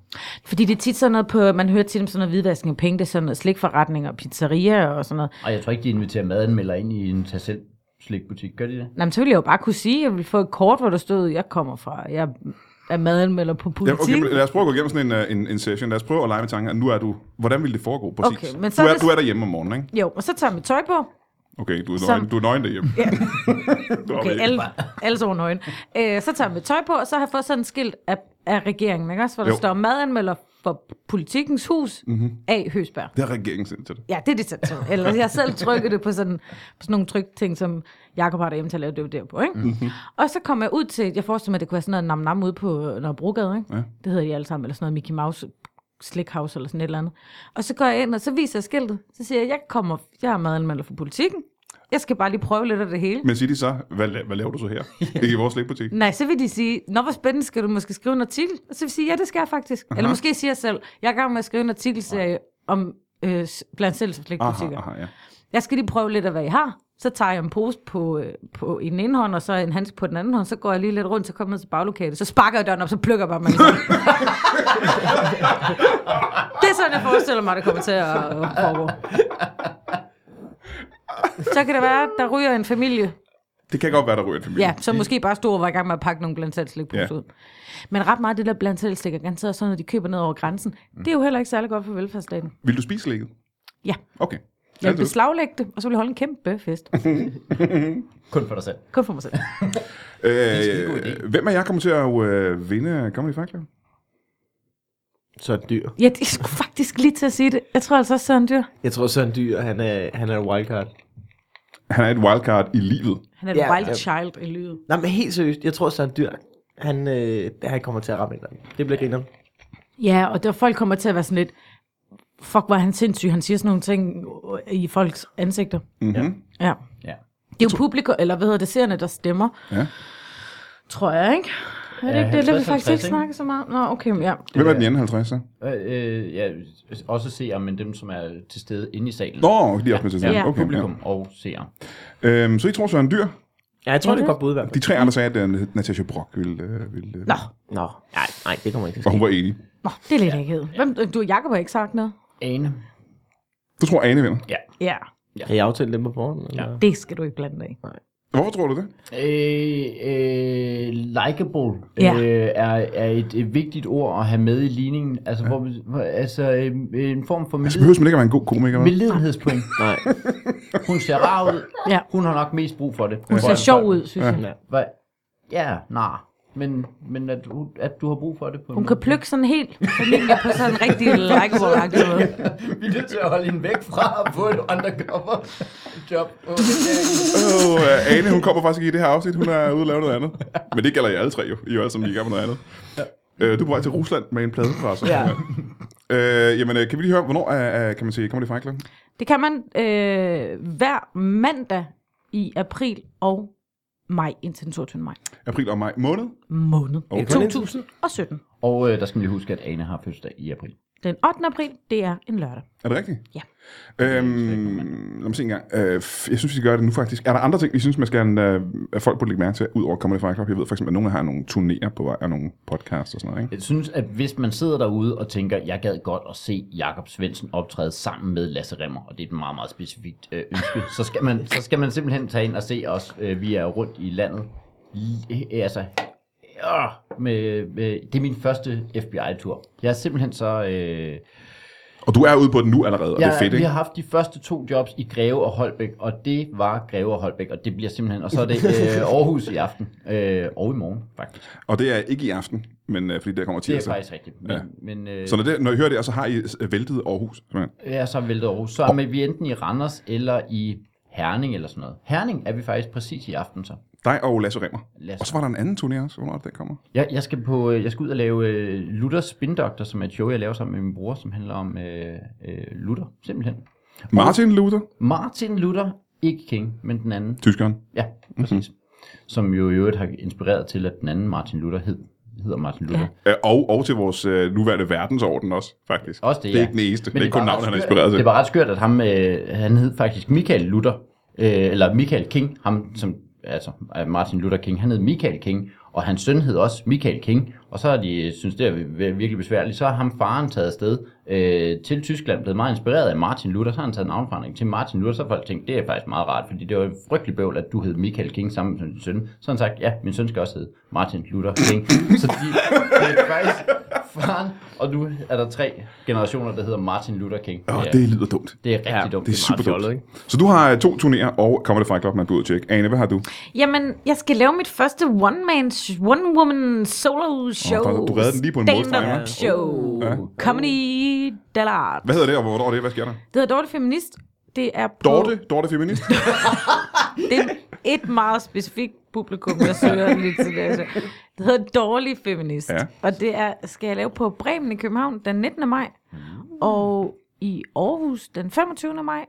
Fordi det er tit sådan noget på, man hører tit om sådan noget hvidvaskning af penge, det er sådan noget slikforretninger og pizzerier og sådan noget.
Og jeg tror ikke, de inviterer madanmelder ind i en tag selv slikbutik. Gør de det?
Nå, men så ville jeg jo bare kunne sige, at jeg ville få et kort, hvor der stod, jeg kommer fra, jeg er madanmelder på
Ja,
politik.
okay, men lad os prøve at gå igennem sådan en, øh, en, en session. Lad os prøve at lege med tanken, at nu er du... Hvordan ville det foregå præcis?
Okay, men så
du,
er
er,
det-
du er derhjemme om morgenen, ikke?
Jo, og så tager jeg mit tøj på.
Okay, du er
Som-
nøgen, du er nøgen derhjemme.
Ja.
[LAUGHS] Du er
Okay,
ikke-
alle,
[LAUGHS]
alle så nøgen. Øh, så tager jeg mit tøj på, og så har jeg fået sådan et skilt af, af regeringen, ikke også? Hvor der
Jo. Mhm.
jo. står madanmelder for politikens hus mm-hmm. af Høsberg.
Det har regeringen sendt til dig.
Ja, det er det selv. så. Eller jeg selv trykkede det på sådan, på sådan nogle trykting, som Jacob har derhjemme til at lave det der på. Ikke?
Mhm.
Mm-hmm. Og så kom jeg ud til, jeg forestiller mig, at det kunne være sådan noget nam nam ude på Nørrebrogade. Ikke?
Ja.
Det hedder de alle sammen, eller sådan noget Mickey Mouse Slickhouse eller sådan et eller andet. Og så går jeg ind, og så viser jeg skiltet. Så siger jeg, jeg kommer, jeg er madanmelder for politikken. Jeg skal bare lige prøve lidt af det hele.
Men siger de så, hvad, la- hvad laver du så her? Ikke i vores slikbutik?
Nej, så vil de sige, nå hvor spændende, skal du måske skrive en artikel? Og så vil de sige, ja, det skal jeg faktisk. Eller måske siger jeg selv, jeg er i gang med at skrive en artikelserie om øh, s- blandt selv
Aha,
slikbutikker.
aha, ja.
Jeg skal lige prøve lidt af, hvad I har. Så tager jeg en pose på, øh, på i den ene hånd, og så en handske på den anden hånd. Så går jeg lige lidt rundt, så kommer jeg ned til baglokalet. Så sparker jeg døren op, så plukker jeg bare mig. i
[LAUGHS]
hånden. det er sådan, jeg forestiller mig, det kommer til at øh, foregå. Så kan det være, der ryger en familie
Det kan godt være, der ryger en familie.
Ja, så måske bare stod og var i gang med at pakke nogle blandt selv slik
Ja.
ud. Men ret meget af det der blandt selv slik og grænser, sådan noget, de køber ned over grænsen, det er jo heller ikke særlig godt for velfærdsstaten.
Vil du spise slikket?
Ja.
Okay.
Jeg vil
Altid.
beslaglægge det, og så vil jeg holde en kæmpe fest.
Kun for dig selv.
Kun for mig selv.
Øh, hvem af jer kommer til at øh, vinde Comedy Fight Club?
Så er dyr.
Ja, det skulle faktisk lige til at sige det. Jeg tror altså også, Søren Dyr.
Jeg tror, Søren Dyr, han er, han er en wildcard.
Han er et wildcard i livet.
Han er et
Ja,
wild
ja.
child i livet.
Nej, men helt seriøst, jeg tror, Søren Dyr, han, øh, han kommer til at ramme en eller anden. Det bliver grineren.
Ja, og der folk kommer til at være sådan lidt, fuck, hvor er han sindssyg. Han siger sådan nogle ting i folks ansigter.
Mm-hmm.
Ja.
Ja.
Det er jo publikum, eller hvad hedder det, seerne, der stemmer.
Ja.
Tror jeg, ikke? Er det
Ja,
ikke det? Det vil
50,
vi faktisk ikke
50, ikke?
snakke så meget om. Nå, okay, men ja.
Hvem er den anden 50 så?
Øh, øh, ja, også seere, men dem, som er til stede inde i salen.
Nå, de er også med til
Ja.
ja. okay,
Publikum og seere.
Ja. Øhm, så I tror Søren Dyr?
Ja, jeg tror,
Ja,
det er
det-
godt bud i hvert
De
fald.
tre andre sagde, at øh, Natasha Brock ville... Øh, ville øh,
Nå,
Nå, nej, nej, det kommer ikke til
og
at
hun
ske.
var enig.
Nå, det er lidt ja. akavet. Hvem, du og Jacob har ikke sagt noget?
Ane.
Du tror Ane vinder.
Ja,
Kan jeg aftale dem på forhånd? Eller? Ja.
det skal du ikke blande dig i.
Hvorfor tror du det?
Øh, øh, likable
Ja.
øh, er, er et, et vigtigt ord at have med i ligningen. Altså, ja. hvor, vi- hvor, altså øh, en form for
Så behøver man ikke at være en god komiker, vel?
medlidenhedspoint.
Nej,
Hun ser rar ud.
Ja.
Hun har nok mest brug for det.
Hun ser sjov ud, synes jeg.
Hvad? Ja, nej. Men, men at, du, at du har brug for det på en
Hun kan plukke sådan helt familie på sådan en rigtig likeable måde.
Vi er nødt til at holde hende væk fra at få et undercover job.
Åh, øh, Ane, hun kommer faktisk ikke i det her afsnit. Hun er ude og lave noget andet. Men det gælder jer alle tre jo. I er jo alle sammen i gang med noget andet. Øh, du er på vej til Rusland med en plade fra os.
Ja.
Øh, jamen, øh, kan vi lige høre, hvornår er, er- kan man sige, kommer det fra klokken?
Det kan man øh, hver mandag i april og maj, indtil den 22. maj
April og maj måned?
måned
Okay.
2017.
Og øh, der skal man lige huske, at Ane har fødselsdag i april.
Den 8. april, det er en lørdag.
Er det rigtigt?
Ja.
Øhm, lad mig se en gang. Øh, f- jeg synes, vi gør det nu faktisk. Er der andre ting, vi synes, man skal, øh, at folk burde lægge mærke til, ud over Comedy Fight Club? Jeg ved for eksempel, at nogle har nogle turnéer på vej, og nogle podcasts og sådan noget, ikke?
Jeg synes, at hvis man sidder derude og tænker, jeg gad godt at se Jakob Svendsen optræde sammen med Lasse Remmer, og det er et meget, meget specifikt øh, ønske,
[LAUGHS]
så skal, man, så skal man simpelthen tage ind og se os. Øh, vi er jo rundt i landet. I, øh, altså, øh, med, med, det er min første FBI-tur. Jeg er simpelthen så... Øh,
Og du er ude på den nu allerede, og det er fedt,
vi
ikke?
har haft de første to jobs i Greve og Holbæk, og det var Greve og Holbæk, og det bliver simpelthen... Og så er
[LAUGHS]
det øh, Aarhus i aften, øh, og i morgen faktisk.
Og det er ikke i aften, men øh, fordi der kommer
Det er
tirsdag.
faktisk rigtigt. Men,
Ja.
ja. men, øh,
Så når, det, når I hører det, og så har I øh, væltet Aarhus. simpelthen.
Ja, så vælter Aarhus. Så er med, vi enten i Randers eller i Herning eller sådan noget. Herning er vi faktisk præcis i aften så.
Dig og Lasse Remmer.
Lasse.
Og så var der en anden turné også. Hvornår er det, den kommer?
Jeg, jeg, skal på, øh, jeg skal ud og lave øh, Luthers Spindokter, som er et show, jeg laver sammen med min bror, som handler om øh, øh, Luther, simpelthen.
Martin Luther,
Martin Luther, ikke King, men den anden.
tyskeren.
Ja,
Mhm.
præcis. Mm-hmm. Som jo i øvrigt har inspireret til, at den anden Martin Luther hed, hedder Martin Luther. Ja.
Øh, Og, og til vores øh, nuværende verdensorden også, faktisk.
Også det,
det er
ja.
ikke den eneste.
Men
det er ikke kun
var
navnet,
ret
han er
skørt-
inspireret til.
Det var ret skørt, at ham, øh, han hed faktisk Michael Luther, øh, eller Michael King, ham som, altså øh, Martin Luther King, han hed Michael King, og hans søn hed også Michael King, og så har de øh, synes det er vir- virkelig besværligt, så har ham faren taget afsted øh, til Tyskland, blevet meget inspireret af Martin Luther, så har han taget navnforandring til Martin Luther, så har folk tænkt, det er faktisk meget rart, fordi det var frygtelig bøvl, at du hed Michael King sammen med din søn, så har han sagt, ja, min søn skal også hedde Martin Luther King, så de, det er faktisk faren, og nu er der tre generationer, der hedder Martin Luther King.
Åh,
er-
det lyder dumt.
det er rigtig
Ja,
dumt.
Det er
meget
super
fjollet,
dumt. Så du har øh, to turnéer og Comedy Fight Club, man burde tjekke. Ane, hvad har du?
Jamen, jeg skal lave mit første one-man, one-woman solo show.
Åh, du- du reddede den lige på en målstreg,
Stand-up
hva'?
show.
Ja.
Comedy Dallard.
Hvad hedder det, og hvornår er det? Hvad sker der?
Det hedder Dorte Feminist. Det er på
Dorte, Dorte Feminist.
Det er et meget specifikt publikum, der søger lidt til det. Altså. Det hedder Dårlig Feminist.
Ja.
Ja. Og det er, skal jeg lave på Bremen i København den 19. maj.
Mm.
Og i Aarhus den 25. maj.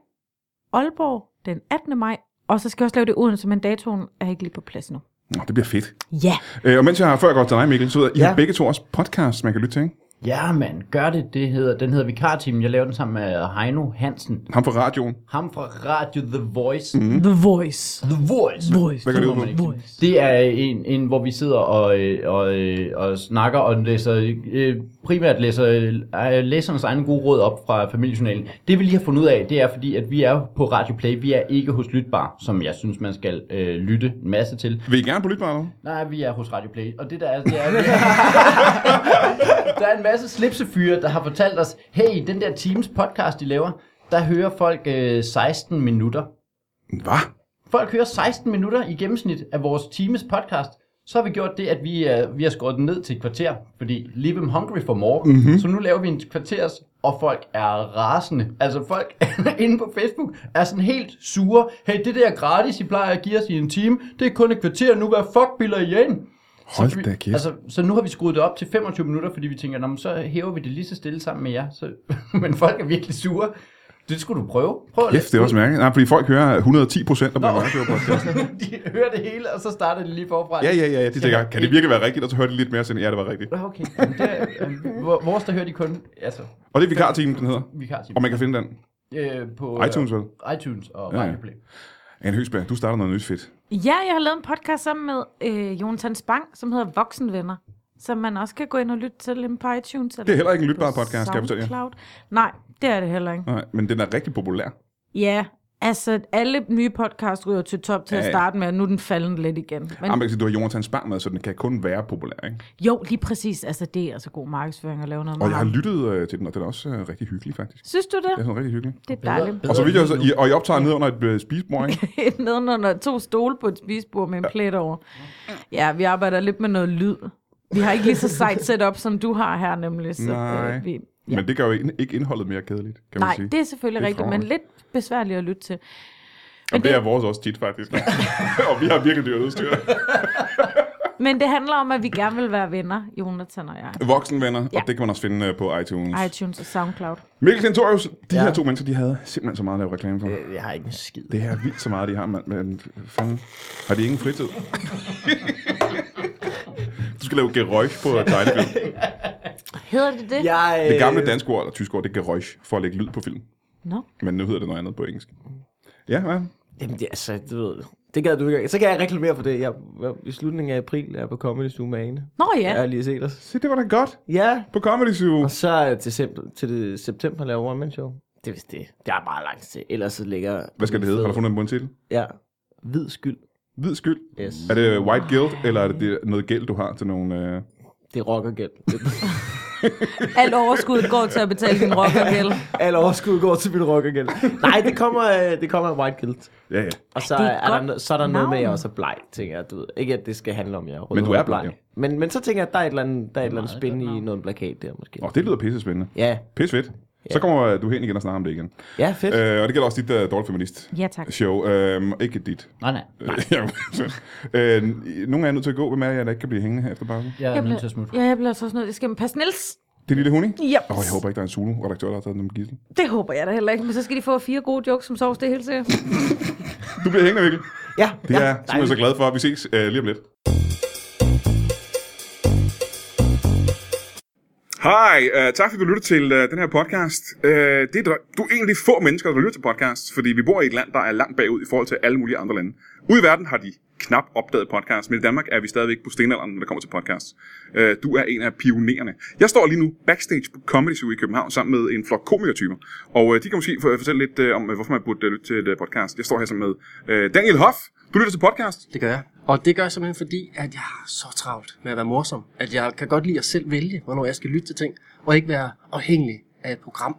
Aalborg den 18. maj. Og så skal jeg også lave det i Odense, men datoen er ikke lige på plads nu.
Nå, det bliver fedt.
Ja.
Øh, og mens jeg har før gået til dig, Mikkel, så ved jeg, I
Ja.
har begge to også podcast, man kan lytte til, ikke?
Ja, mand, gør det. det hedder, den hedder Vikartimen. Jeg laver den sammen med øh, Heino Hansen.
Ham fra radioen.
Ham fra Radio The Voice.
Mm.
The Voice.
The Voice.
Voice.
Hvad går det ud på?
Voice.
Det er øh, en, en hvor vi sidder og, øh, og, øh, og snakker og læser, øh, primært læser øh, læsernes egne gode råd op fra familiejournalen. Det vi lige har fundet ud af, det er fordi, at vi er på Radio Play. Vi er ikke hos Lytbar, som jeg synes, man skal øh, lytte en masse til.
Vil I gerne på lytbare?
Nej, vi er hos Radio Play, og det der er, det er der er en masse slipsefyre, der har fortalt os, hey, den der Teams podcast, de laver, der hører folk øh, 16 minutter.
Hvad?
Folk hører 16 minutter i gennemsnit af vores Teams podcast. Så har vi gjort det, at vi, øh, vi har skåret den ned til et kvarter, fordi leave them hungry for more. Mm-hmm. Så nu laver vi en kvarters, og folk er rasende. Altså folk [LAUGHS] inde på Facebook er sådan helt sure. Hey, det der gratis, I plejer at give os i en time, det er kun et kvarter, nu hvad fuck biller I ind?
Hold
vi-
da kæft.
Altså, så nu har vi skruet det op til 25 minutter, fordi vi tænker, "Nå, men så hæver vi det lige så stille sammen med jer. Så, [LAUGHS] men folk er virkelig sure. Det skulle du prøve. Prøv at
Kæft, det er også mærkeligt. Nej, fordi folk hører 110 procent af Brian Mørk podcasten.
[LAUGHS] de hører det hele, og så starter de lige forfra.
Ja, ja, ja, ja. De tænker, kan det virkelig være rigtigt? Og så hører de lidt mere, og siger, ja, det var rigtigt.
Nå, Okay, Jamen, det, er- øh, hvor- vores der hører de kun, altså,
Og det er vikartimen, den hedder.
vi kan
Og man kan finde den.
øh, på øh,
iTunes, vel?
iTunes og
Ja, ja.
Radio Play.
Anne Høgsberg, du starter noget nyt fedt.
Ja, jeg har lavet en podcast sammen med øh, Jonathan Spang, som hedder Voksenvenner, som man også kan gå ind og lytte til inde på iTunes. Eller
Det er heller ikke en
på
lytbar podcast, kan jeg fortælle jer.
SoundCloud. Nej, det er det heller ikke.
Nej, men den er rigtig populær.
Ja, Altså, alle nye podcast ryger til top til
Ja,
at
ja.
starte med, og nu er den faldet lidt igen. Men
Jamen, man kan sige, du har Jonathan Spang med, så den kan kun være populær, ikke?
jo, lige præcis. Altså, det er altså god markedsføring at lave noget
Og
med
jeg har
ham.
lyttet øh, til den, og den er også øh, rigtig hyggelig, faktisk.
Synes du
Det er
det?
sådan rigtig hyggelig.
Det er dejligt.
Og så vidt jeg, så, I, og I optager ned under et øh, spisebord,
[LAUGHS]
ikke?
Nedenunder to stole på et spisebord med en plet over. Ja, vi arbejder lidt med noget lyd. Vi har ikke lige så sejt setup, som du har her nemlig. Så,
Nej.
øh, vi,
Men det gør jo ind- ikke indholdet mere kedeligt, kan man
nej,
sige.
det er selvfølgelig
Det er
rigtigt, men
fremragende.
lidt besværligt at lytte til.
Jamen, det er vores også tit, faktisk. [LAUGHS] og vi har virkelig dyrt udstyr.
Men det handler om, at vi gerne vil være venner, Jonathan og jeg.
Voksenvenner, ja.
Ja.
og det kan man også finde øh, på iTunes.
iTunes og SoundCloud.
Mikkel Klintorius, de ja.
Ja.
her to mennesker, de havde simpelthen så meget at lave reklame for.
Øh, Jeg har ikke en skid.
Det her er vildt så meget, de har, mand. Men øh, fanden, har de ingen [LAUGHS] fritid? du skal lave gerøjf på tegnefilm.
[LAUGHS] Hedder det det?
Jeg, øh,
Det gamle danske ord, eller tyske ord, det er gerøjf, for at lægge lyd på film.
Nå.
Men nu hedder det noget andet på engelsk. Ja, ja.
Jamen, det, altså, du ved, det gad du ikke. Så kan jeg reklamere for det. Jeg, jeg, I slutningen af april er jeg på Comedy Zoo med Ane.
Nå ja.
Jeg har lige set os.
Se, det var da godt
Ja.
på Comedy Zoo.
Og så øh, til, september, til det, september laver One Man Show. Det er vist det. Det er bare langt til. Ellers så ligger...
Hvad skal det hedde? Har du fundet en bund titel?
Ja. Hvid skyld.
Hvid skyld.
Yes.
Er det White Guild, eller er det- det noget gæld, du har til nogle... Øh...
Det er rockergæld. [LAUGHS]
Alt overskuddet går til at betale din rockergæld.
Alle overskud går til min rockergæld. Nej, det kommer, øh, det kommer af White Guild.
Ja, ja.
Og så
Det er
er,
et
er,
godt
der, no- så er der noget med, at jeg
navn.
også er bleg, tænker jeg. Du ved. Ikke, at det skal handle om, at jeg er rød
Men du
og
er bleg, jo.
Men, men så tænker jeg, at der er et eller andet, der er et eller andet
meget
spændende
godt
i
navn.
noget plakat der, måske.
Åh, det lyder pisse spændende.
Ja,
Pisse fedt. Så kommer du hen igen og snakker om det igen.
ja fedt. Øh,
Øh, og det gælder også dit uh, dårlig feminist
Ja, tak.
show. Øh, ikke dit.
Nej, nej.
Øh, [LAUGHS] ja, øh, nogle er nødt til at gå. Hvem er jeg, der ikke kan blive hængende her efter pausen?
Jeg er
Jeg
nødt til at
bliver,
smutte.
ja, jeg bliver så sådan noget. Jeg skal passe Niels.
Det er lille hunni?
Yep.
Åh, jeg håber ikke, der er en Zulu-redaktør, der har taget dem som gissel.
Det håber jeg da heller ikke, men så skal de få fire gode jokes som sovs, det er helt sikkert.
Du bliver hængende, Mikkel.
ja,
Det
ja,
er jeg simpelthen så glad for. Vi ses øh, lige om lidt. Hej, uh, tak fordi du lytter til uh, den her podcast. Uh, det er der, du er egentlig få mennesker, der lytter til podcast, fordi vi bor i et land, der er langt bagud i forhold til alle mulige andre lande. Ude i verden har de knap opdaget podcast, men i Danmark er vi stadigvæk på stenalderen, når det kommer til podcast. Uh, du er en af pionererne. Jeg står lige nu backstage på Comedy Zoo i København sammen med en flok komikertyper, og uh, de kan måske for- fortælle lidt uh, om, øh, hvorfor man burde øh, lytte til et øh, podcast. Jeg står her sammen med uh, Daniel Hoff. Du lytter til podcast.
Det gør jeg. Og det gør jeg simpelthen fordi, at jeg har så travlt med at være morsom, at jeg kan godt lide at selv vælge, hvornår jeg skal lytte til ting, og ikke være afhængig af et program,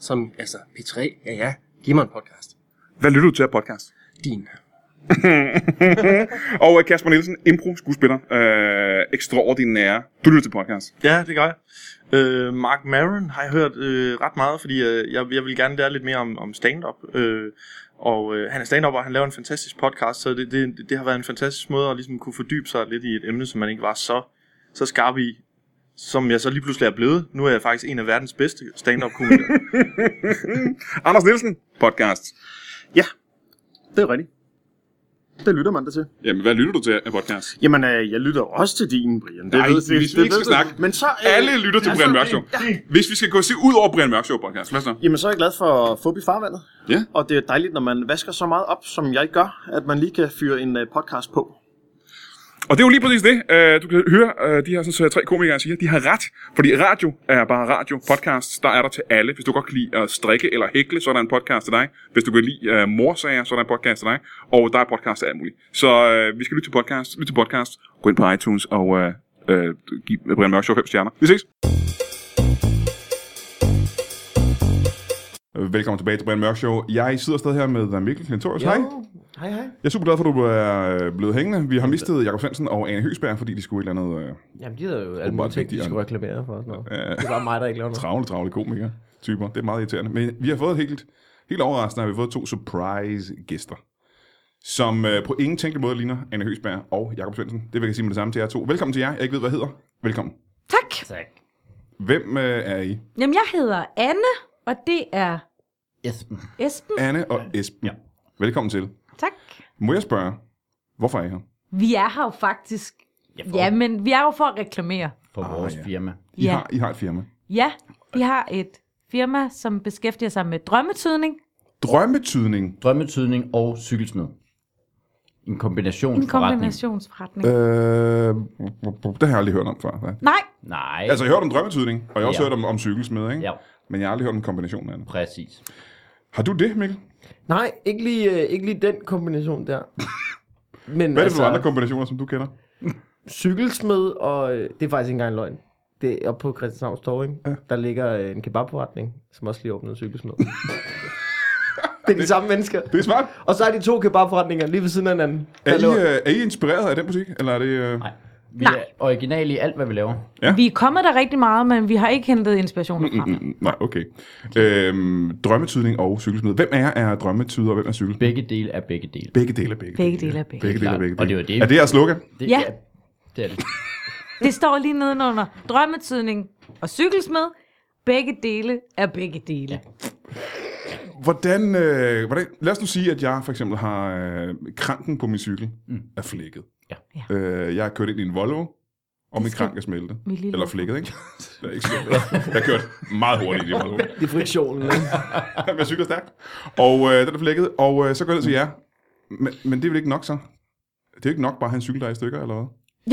som altså P3, ja ja, giv mig en podcast.
Hvad lytter du til af podcast?
Din.
Og øh, Kasper Nielsen, impro-skuespiller, øh, ekstraordinære. Du lytter til podcast.
Ja, det gør jeg. Øh, Mark Maron har jeg hørt øh, ret meget, fordi øh, jeg, jeg vil gerne lære lidt mere om, om stand-up. Øh, og øh, han er stand-up, og han laver en fantastisk podcast, så det, det, det har været en fantastisk måde at ligesom kunne fordybe sig lidt i et emne, som man ikke var så, så skarp i, som jeg så lige pludselig er blevet. Nu er jeg faktisk en af verdens bedste
[LAUGHS]
stand-up-komikere.
Anders Nielsen, podcast.
Det er rigtigt. Det lytter man da til.
Jamen, hvad lytter du til af podcast?
Jamen, øh, jeg lytter også til din, Brian. Det
Nej,
ved,
hvis vi ikke skal
ved du.
snakke.
Men så, øh,
Alle lytter til Brian Mørk Show. Hvis vi skal gå og se ud over Brian Mørk Show podcast, hvad så?
Jamen, så er jeg glad for Fubi Farvandet.
Ja.
Og det er dejligt, når man vasker så meget op, som jeg gør, at man lige kan fyre en øh, podcast på.
Og det er jo lige præcis det, øh, du kan høre øh, de her sådan, så tre komikere siger. De har ret, fordi radio er bare radio. Podcast, der er der til alle. Hvis du godt kan lide at strikke eller hækle, så er der en podcast til dig. Hvis du kan lide øh, morsager, så er der en podcast til dig. Og der er podcast til alt muligt. Så øh, vi skal lytte til podcast. Lyt til podcast. Gå ind på iTunes og øh, øh, giv Brian Mørk Show 5 stjerner. Vi ses! Velkommen tilbage til Brian Mørk Show. Jeg sidder stadig her med Mikkel Klintorius.
jo. Hej, hej.
Jeg er super glad for, at du er øh, blevet hængende. Vi har mistet Jakob Svendsen og Anne Høgsberg, fordi de skulle et eller andet øh,
Jamen, de havde jo alle mulige
Åbenbart
ting, de
vigtigere.
skulle reklamere for. og Sådan noget.
Ja.
Det var mig, der ikke lavede noget.
travle, travle komikere typer. Det er meget irriterende. Men vi har fået helt, helt overraskende, har vi fået to surprise gæster, som øh, på ingen tænkelig måde ligner Anne Høgsberg og Jakob Svendsen. Det vil jeg sige med det samme til jer to. Velkommen til jer. Jeg ikke ved, hvad I hedder. Velkommen.
Tak.
Tak.
Hvem øh, er I?
Jamen, jeg hedder Anne, og det er
Esben.
Esben.
Anne og Esben.
Ja.
Velkommen til.
Tak.
Må jeg spørge, hvorfor er I her?
Vi er her jo faktisk. Ja, men vi er jo for at reklamere.
For
Ah,
vores
ja.
firma.
I,
Ja.
har, I har et firma.
Ja, vi har et firma, som beskæftiger sig med drømmetydning.
Drømmetydning.
Drømmetydning og cykelsmed. En kombination.
En kombinationsforretning. Øh.
Øh, det har jeg aldrig hørt om før. Hvad?
Nej,
Nej.
Altså, jeg har hørt om drømmetydning, og jeg har også ja.
Ja.
hørt om, om cykelsmed, ikke?
Ja,
Men jeg har aldrig hørt om kombinationen af det.
præcis.
Har du det, Mikkel?
Nej, ikke lige, øh, ikke lige den
[LAUGHS]
kombination der. Men altså,
Hvad er det
Altså-
for andre kombinationer, som du kender?
cykelsmed, og øh, det er faktisk ikke engang en løgn. Det er oppe på Christianshavns Torv, ja. der ligger øh, en kebabforretning, som også lige åbnede en cykelsmed.
[LAUGHS]
det er de samme mennesker.
Det er smart.
Og så er de to kebabforretninger lige ved siden af hinanden.
Er
Der
I,
lå-
øh, er I inspireret af den butik? Eller er det... Øh...
Nej. Vi
Nej.
er originale i alt, hvad vi laver.
Ja.
Vi er kommet der rigtig meget, men vi har ikke hentet inspirationer fra. Mm,
Mm, Nej, okay. Øhm, drømmetydning og cykelsmed. Hvem af jer er drømmetyder, og hvem er cykel?
Begge dele er begge dele.
Begge dele er begge.
Begge dele er begge.
Begge dele er begge.
Og det var det.
Er det jeres slogan?
Det,
Ja.
Det er det.
Det står lige nedenunder. Drømmetydning og cykelsmed. Begge dele er begge dele.
Hvordan, øh, hvordan, lad os nu sige, at jeg for eksempel har øh, kranken på min cykel mm. er flækket.
Ja.
Øh, jeg har kørt ind i en Volvo, og min
skal-
krank er smeltet.
Mit lille
Eller
offer.
flækket, ikke? Det er ikke smeltet. Jeg har kørt meget hurtigt i en Volvo.
Det er friktionen. ikke?
Men jeg cykler stærkt. Og øh, den er flækket, og øh, så går jeg ned til jer. Men, men det er vel ikke nok så? Det er jo ikke nok bare at have en cykel, der er i stykker, eller hvad?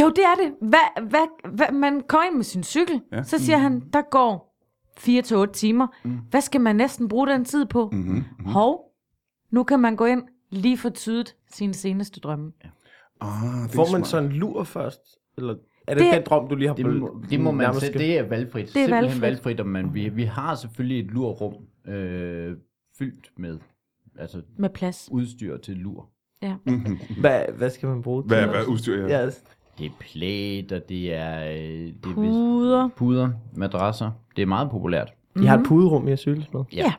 Jo, det er det. Hvad, hvad, hvad, man går ind med sin cykel,
Ja.
ja. så siger han, der går 4-8 timer. Mm. Hvad skal man næsten bruge den tid på?
Mm-hmm.
Hov, nu kan man gå ind lige for tydet sine seneste drømme.
Ah, det
Får man så en lur først? Eller er
Det-
det, det den drøm, du lige har
Det, må, det må man
nærmest
selv,
skal-
det er valgfrit.
er
Simpelthen
valgfrit.
valgfrit, om man, vi, vi har selvfølgelig et lurrum øh, fyldt med altså
Med plads.
udstyr til lur.
Ja.
Hvad, hvad skal man bruge
Mhm. Hvad,
til?
hvad udstyr jeg?
Ja, altså,
Det er plæter, det er, øh, det er vist-
Puder.
puder, madrasser. Det er meget populært.
I har et puderum, jeg synes med.
Ja.
Ja.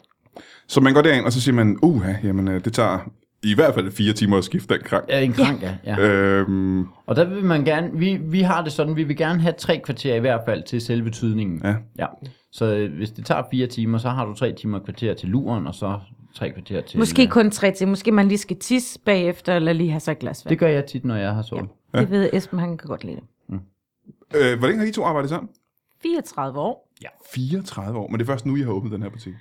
Så man går derind, og så siger man, uha, jamen øh, det tager i hvert fald fire timer at skifte den krank.
Ja, en krank, ja. ja.
Øhm,
Og der vil man gerne, vi, vi har det sådan, vi vil gerne have tre kvarter i hvert fald til selve tydningen.
Ja.
ja. Så øh, hvis det tager fire timer, så har du tre timer og kvarter til luren, og så tre kvarter til...
Måske
øh,
kun tre til. Måske man lige skal tisse bagefter, eller lige have sig et glas vand.
Det gør jeg tit, når jeg har sovet.
Det, det ved Esben, han kan godt lide. det.
øh, hvor længe har I to arbejdet sammen?
34 år.
34 år, men det er først nu, I har åbnet den her butik.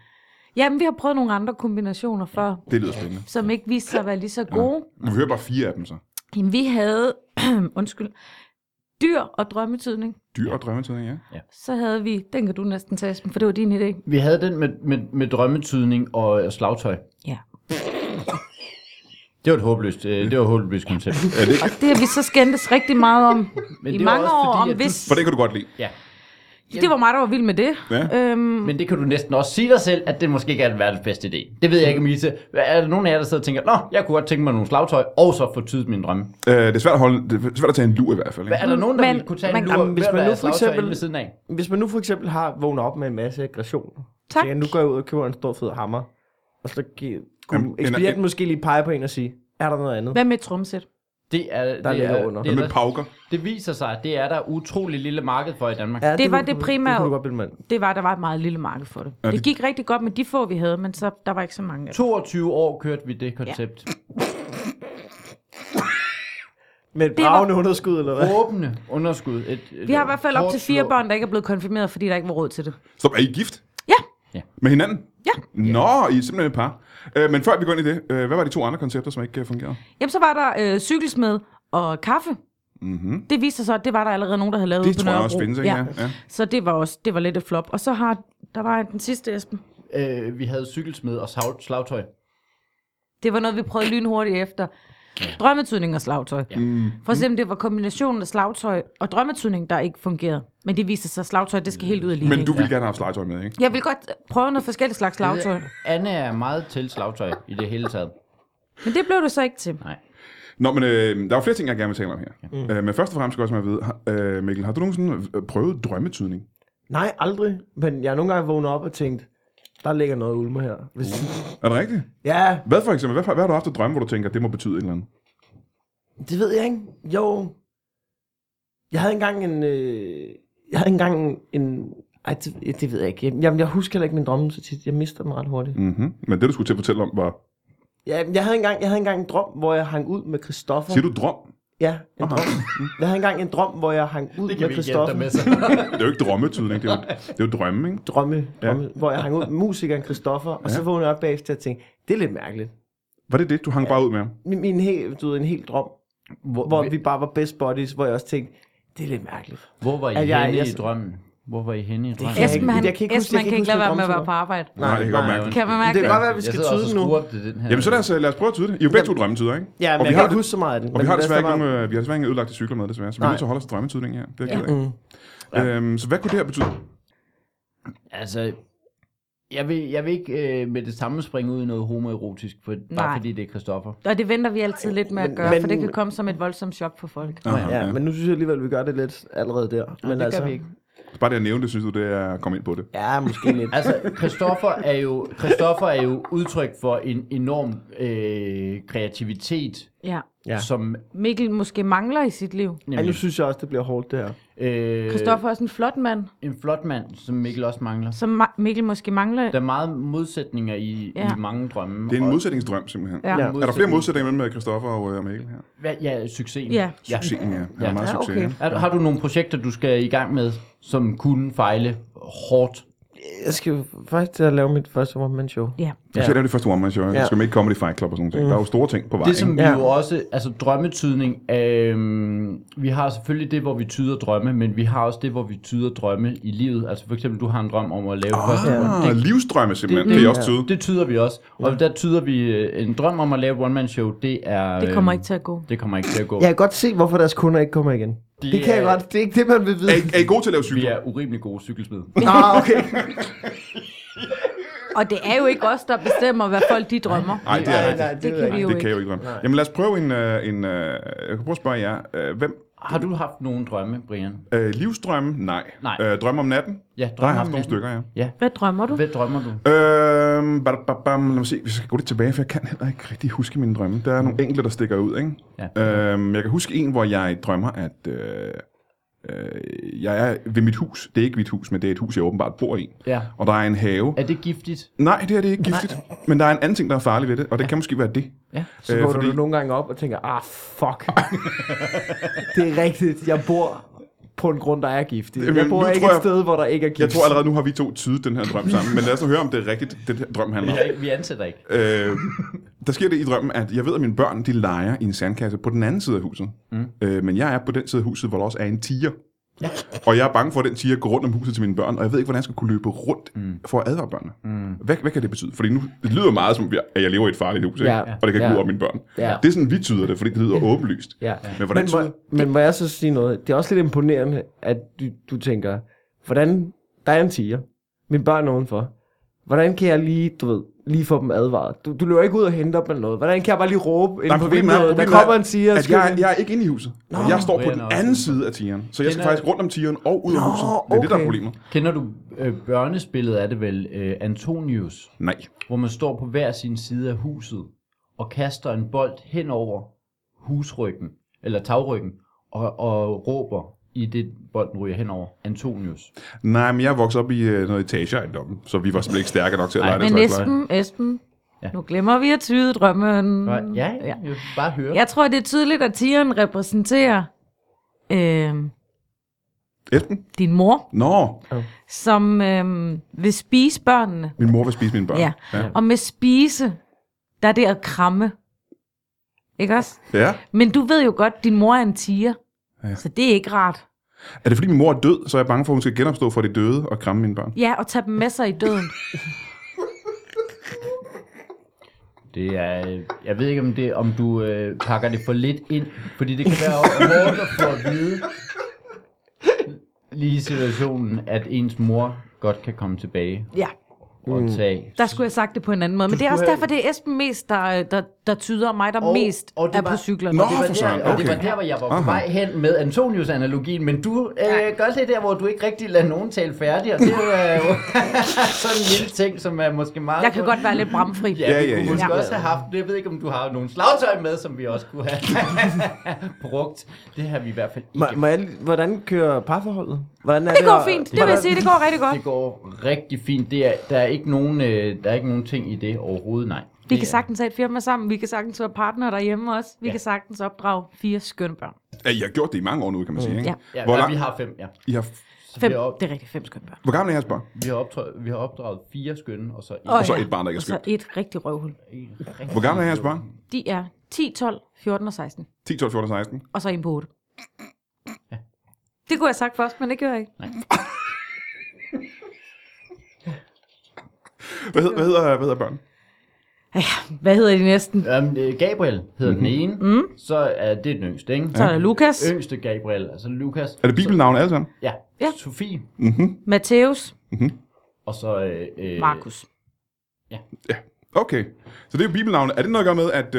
Jamen, vi har prøvet nogle andre kombinationer før,
Det lyder spændende.
som ikke viste sig at være lige så gode.
Vi hører bare fire af dem så.
Jamen, vi havde, [CLEARS THROAT] undskyld, dyr og drømmetydning.
Dyr og drømmetøjning, ja.
Så havde vi, den kan du næsten tage, Esben, for det var din idé.
Vi havde den med, med, med drømmetydning og, og slagtøj.
Ja.
Det var et håbløst, øh, det var et håbløst
[LAUGHS]
koncept.
Og det har vi så skændtes rigtig meget om
[LAUGHS] Men
i
det var
mange
også
år.
fordi,
om
at du-
hvis,
For det kan du godt lide.
Ja.
det var mig, der var vild med det.
Ja.
Øhm,
Men det kan du næsten også sige dig selv, at det måske ikke er verdens bedste idé. Det ved jeg ikke, Misse. Er der nogen af jer, der sidder og tænker, Nå, jeg kunne godt tænke mig nogle slagtøj, og så få tydet mine drømme.
Øh, det er svært at, holde, det er svært at tage en lur i hvert fald.
Hvad,
Ikke?
er der nogen, der
Mm, Men-
ville kunne tage en
men-
lur,
Jamen, hvis
ved
man
at
nu
være
for
slagtøj
eksempel-
inde ved siden af?
Hvis man nu for eksempel har vågnet op med en masse aggression,
tak.
tænker, nu går jeg ud og køber en stor fed hammer, og så gi- kunne
Jamen,
Jamen,
en-
ekspedienten
en-
måske lige pege på en og sige, er der noget andet?
Hvad med et trumsæt?
Det er, det
ligger
er,
under.
Det,
Hvad
er,
med pauker?
det viser sig, at det er der utrolig lille marked for i Danmark.
Ja,
Det var
kunne-
det primære.
Det kunne du godt bilde mig ind.
Det var, der var et meget lille marked for det.
det-
Det gik rigtig godt med de få, vi havde, men så der var ikke så mange. af dem.
22 år kørte vi det koncept.
Med et
Det var-
bravende underskud, eller hvad?
Åbne underskud. Et, et,
Vi har i hvert fald op til fire
hårdt
børn, der ikke er blevet konfirmeret, fordi der ikke var råd til det.
Så er I gift?
Ja.
Ja.
Med hinanden?
Ja.
Nå, I er simpelthen et par. Øh, men før vi går ind i det, øh, hvad var de to andre koncepter, som ikke øh, fungerede?
Jamen, så var der øh, cykelsmed og kaffe.
Mm-hmm.
Det viste sig så, at det var der allerede nogen, der havde lavet
Det
ude på
tror jeg
Nørrebro.
også findes, ikke? Ja. ja.
Så det var også det var lidt et flop. Og så har der var den sidste, Esben.
slå. Øh, vi havde cykelsmed og sav- slagtøj.
Det var noget, vi prøvede lynhurtigt efter. Drømmetydning og slagtøj. Ja.
Mm.
For eksempel, det var kombinationen af slagtøj og drømmetydning, der ikke fungerede. Men det viste sig, at slagtøj, det skal helt ud af
Mm. Men
ligningen.
du ville gerne have haft legetøj med, ikke?
Jeg vil godt prøve noget forskelligt slags slagtøj.
Anne er meget til slagtøj i det hele taget.
Men det blev det så ikke til.
Nej.
Nå, men øh, der er jo flere ting, jeg gerne vil tale om her. Mm. Øh, men først og fremmest skal jeg også med at vide, har- øh, Mikkel, har du nogensinde øh, prøvet drømmetydning?
Nej, aldrig. Men jeg har nogle gange vågnet op og tænkt, der ligger noget og ulmer her. Hvis...
Er det rigtigt?
Ja,
Hvad for eksempel? Hvad, for- hvad har du haft at drømme, hvor du tænker, det må betyde et eller andet?
det ved jeg ikke. Jo. Jeg havde engang en... Øh... Jeg havde engang en... Ej, det, det ved jeg ikke. Jamen, jeg husker heller ikke mine drømme så tit. Jeg mister dem ret hurtigt.
Mm-hmm. Men det, du skulle til at fortælle om, var...
Ja, jeg, havde engang, jeg havde engang en drøm, hvor jeg hang ud med Christoffer.
Siger du drøm?
Ja, en
Aha.
drøm. Jeg havde engang en drøm, hvor jeg hang ud med Christoffer.
så.
Det er jo ikke drømmetydning, det er jo, det er jo drømme, ikke?
Drømme,
Ja.
drømme hvor jeg hang ud
[LAUGHS]
med musikeren Christoffer. Og så vågnede jeg op bagefter og tænkte, det er lidt mærkeligt.
Var det det, du hang bare ud med ham?
Min, min hel, du ved, en hel drøm,
Hvor,
hvor vi bare var best buddies, hvor jeg også tænkte, det er lidt mærkeligt.
hvor var I
At jeg-
henne
jeg-
i drømmen? Hvor var I henne i
kan
røven?
jeg
Esben,
ikke-
han,
jeg kan ikke huske-
Esben,
jeg
han
kan
kan
ikke
ikke lade
huske
være med at
bremsen.
være på arbejde.
Nej, jeg kan godt mærke det.
Kan man mærke det?
Det kan godt være, at vi
Jeg
skal
sidder også
tyde
og
nu.
skruer op til den her.
Jamen så lad os, øh, lad os prøve at tyde det. I er jo begge to drømmetyder, ikke?
Ja,
Og vi
men jeg
har
kan ikke
det-
huske så meget af det.
Og vi
men
har,
det er
desværre ikke
bare-
nogen, øh, vi har desværre ingen ødelagte cykler med, desværre. Så vi er
Nej.
nødt til at holde os til drømmetydning her. Det er jeg ked af.
Mm.
Ja. Øhm, så hvad kunne det her betyde?
Altså, jeg vil, jeg vil ikke øh, med det samme springe ud i noget homoerotisk, for, bare
Nej.
fordi det er Christoffer.
Og det venter vi altid lidt med at
men-
gøre,
men-
for det kan komme som et voldsomt chok for folk.
Aha, øh, ja,
Ja, men nu synes jeg alligevel, vi gør det lidt allerede der. Men
det
altså,
gør vi ikke.
Bare det at nævne det, synes du, det er at komme ind på det.
Ja, måske
[LAUGHS]
lidt.
Altså, Christoffer er jo, Christoffer er jo udtryk for en enorm øh, kreativitet,
Ja.
Ja. Øh.
ja. som...
Mikkel måske mangler i sit liv.
Ej, nu synes jeg også, det bliver hårdt det her.
øh,
Kristoffer er også en flot mand,
En flot mand, som Mikkel også mangler.
som Ma- Mikkel måske mangler.
Der er meget modsætninger i, ja.
Ja.
i mange drømme.
Det er en
og-
modsætningsdrøm, simpelthen.
Ja.
Ja.
Er der flere modsætninger mellem Christoffer og øh, Mikkel her?
Hvad- Ja, succesen.
Ja.
ja.
Succesen, ja. Han er
Ja.
meget
Ja,
succes.
okay.
ikke?
Er, har du nogle projekter, du skal i gang med, som kunne fejle hårdt?
Jeg skal jo faktisk til at lave mit første one-man-show.
Ja.
Nu skal jeg lave det første one-man show. Jeg
Ja. Mm.
skal med ikke Comedy Fight Club og sådan noget. Der er jo store ting på vej.
Det som
ikke?
vi
Ja.
jo også, altså drømmetydning, øh, vi har selvfølgelig det, hvor vi tyder drømme, men vi har også det, hvor vi tyder drømme i livet. Altså for eksempel, du har en drøm om at lave oh, første one.
Ah,
Det,
livsdrømme simpelthen,
det-
det, er også tyde.
det tyder vi også. Og der tyder vi øh, en drøm om at lave et one-man-show, det er...
Det kommer
øh,
Øhm.
ikke til at gå.
Det kommer ikke til at gå.
Jeg kan godt se, hvorfor deres kunder ikke kommer igen. Det, kan jeg
er-
godt. Det er ikke det, man vil vide.
Er I, er I gode til at lave
Vi
cykler?
er urimelig gode cykelsmede.
Ah, okay.
Og det er jo ikke os, der bestemmer, hvad folk de drømmer.
Nej, det er
Nej,
rigtigt.
[LAUGHS] nej, det,
Det
ved
kan
jeg
vi
ikke.
jo
Det kan jeg
ikke.
jo ikke drømme. Jamen lad os prøve en... øh, en øh, jeg kan prøve at spørge jer. øh, Hvem?
Har du haft nogen drømme, Brian?
øh, Livsdrømme? Nej.
Nej.
Øh, Drømme om natten?
Ja,
Der har jeg
drømme om
haft nogle
natten.
stykker, ja.
Hvad drømmer du?
Hvad drømmer du?
Øhm, badababam, lad mig se, vi skal gå lidt tilbage, for jeg kan heller ikke rigtig huske mine drømme. Der er nogle enkelte, der stikker ud, ikke?
Mm. Ja.
Øhm, jeg kan huske en, hvor jeg drømmer, at øh, øh, jeg er ved mit hus. Det er ikke mit hus, men det er et hus, jeg åbenbart bor i.
Ja.
Og der er en have.
Er det giftigt?
Nej, det her det er ikke giftigt, men der er en anden ting, der er farlig ved det, og det kan måske være det.
Ja.
Så
Øh,
vågner
fordi-
du nogle gange op og tænker, ah,
[LAUGHS]
fuck. det er rigtigt. Jeg bor på en grund, der er giftig.
Jamen,
Jeg bor
nu
ikke
tror
et
jeg-
sted, hvor der ikke er gift.
Jeg tror allerede, nu har vi to tydet den her drøm sammen, men lad os nu høre, om det er rigtigt, den her drøm handler om.
Vi, vi ansætter ikke.
Øh, der sker det i drømmen, at jeg ved, at mine børn de leger i en sandkasse på den anden side af huset. Mm. Øh, men jeg er på den side af huset, hvor der også er en tiger. Ja. Og jeg er bange for, at den tiger går rundt om huset til mine børn, og jeg ved ikke, hvordan jeg skal kunne løbe rundt mm. for at advare børnene. Mm. Hvad, hvad kan det betyde? Fordi nu det lyder meget som, at jeg lever i et farligt hus, ikke?
Ja.
og det kan gå
Ja.
ud over mine børn.
Ja.
Det er sådan, vi tyder det, fordi det lyder åbenlyst.
Ja.
Men hvordan
Men,
tyder
må, men må jeg så sige noget? Det er også lidt imponerende, at du, du tænker, hvordan, der er en tiger, mine børn er udenfor. Hvordan kan jeg lige, du ved, lige få dem advaret? Du, du løber ikke ud og hente dem eller noget. Hvordan kan jeg bare lige råbe ind på
problemet er-
vinduet, der
problemet er,
kommer en tiger og
at
skyder
jeg,
den?"
jeg er ikke inde i huset. Nå, jeg står på
Brian
den
er også
anden side af tigeren, så jeg skal
altså. Den er-
faktisk rundt om tigeren og ud af huset. Det er det, der er
okay.
problemet.
Kender du øh, børnespillet, er det vel øh, Antonius,
Nej.
hvor man står på hver sin side af huset og kaster en bold hen over husryggen, eller tagryggen, og, og råber i det, bolden ryger hen over Antonius.
Nej, men jeg voksede op i øh, noget etageejendommen, så vi var simpelthen ikke stærke nok til at
Nej,
lege den
Men
slags lege.
Esben, Esben,
Ja.
nu glemmer vi at tyde drømmen.
Ja, Mm. ja, ja. Jeg bare høre.
Jeg tror, det er tydeligt, at tigeren repræsenterer øh,
Esben?
din mor,
Nå,
som øh, vil spise børnene.
min mor vil spise mine børn.
Ja.
Ja.
Og med spise, der er det at kramme. Ikke også?
ja.
Men du ved jo godt, din mor er en tiger.
Ja.
Ja. Så det er ikke rart.
Er det fordi min mor er død, så er jeg bange for, at hun skal genopstå fra de døde og kramme mine børn?
Ja, og tage dem med sig i døden.
Det er, øh, jeg ved ikke, om, det, om du øh, pakker det for lidt ind, fordi det kan være hårdt at få at vide lige i situationen, at ens mor godt kan komme tilbage
ja,
og tage
der skulle jeg have sagt det på en anden måde. Men det er også derfor, det er Esben mest, der, der, der tyder og mig, der
Og-
mest
og det
er
var-
på cyklerne.
Nå,
Det var,
for
der,
søren.
og
Okay.
det var der, hvor jeg var
Aha.
på vej hen med Antonius-analogien, men du øh, gør det der, hvor du ikke rigtig lader nogen tale færdig, og det er jo [LAUGHS] øh, sådan en lille ting, som er måske meget...
Jeg kan godt være lidt bramfri.
Ja,
ja,
ja, ja,
ja.
ja. måske
Ja.
også have haft, jeg ved ikke, om du har nogle slagtøj med, som vi også kunne have [LAUGHS] brugt. Det har vi i hvert fald ikke.
Må, må jeg, lige- hvordan kører parforholdet? Hvordan er
Det går
at-
fint. Det vil jeg sige, det går rigtig godt.
Det går rigtig fint. Det er, der, er ikke nogen, øh, der er ikke nogen ting i det overhovedet, nej.
Vi kan sagtens have et firma sammen. Vi kan sagtens være partner derhjemme også. Vi kan sagtens opdrage fire skønne børn.
Ja, jeg har gjort det i mange år nu, kan man sige. Ikke?
Ja.
Mm. Ja,
Hvor
Hvor
lang-
vi har fem, ja.
I har...
Så
Fem,
Vi, har op,
det er rigtigt, fem skønne børn.
Hvor gammel er jeres børn?
vi, har opdraget, vi har opdraget fire skønne, og så en.
Og så
ja.
et barn, der ikke er
Og så
skønt.
et rigtig røvhul.
Hvor gammel er jeres børn?
De er 10, 12, 14 og 16.
10, 12, 14, 16.
Og så en på 8. Det kunne jeg have sagt først, men det gjorde jeg ikke.
Hvad hedder, hvad hedder, hvad hedder børn?
Hvad hedder de næsten?
Øhm, øh, Gabriel hedder
Mhm.
mm-hmm. den ene, mm-hmm. så er det den yngste, ikke?
Mm. Så er der Lukas,
Yngste Gabriel, altså Lukas.
Er det bibelnavne alle sammen? Mhm.
Ja,
Ja.
ja. Sofie,
Matthæus,
og så... Øh, øh,
Markus.
Okay, så det er jo bibelnavne. Er det noget at gøre med, at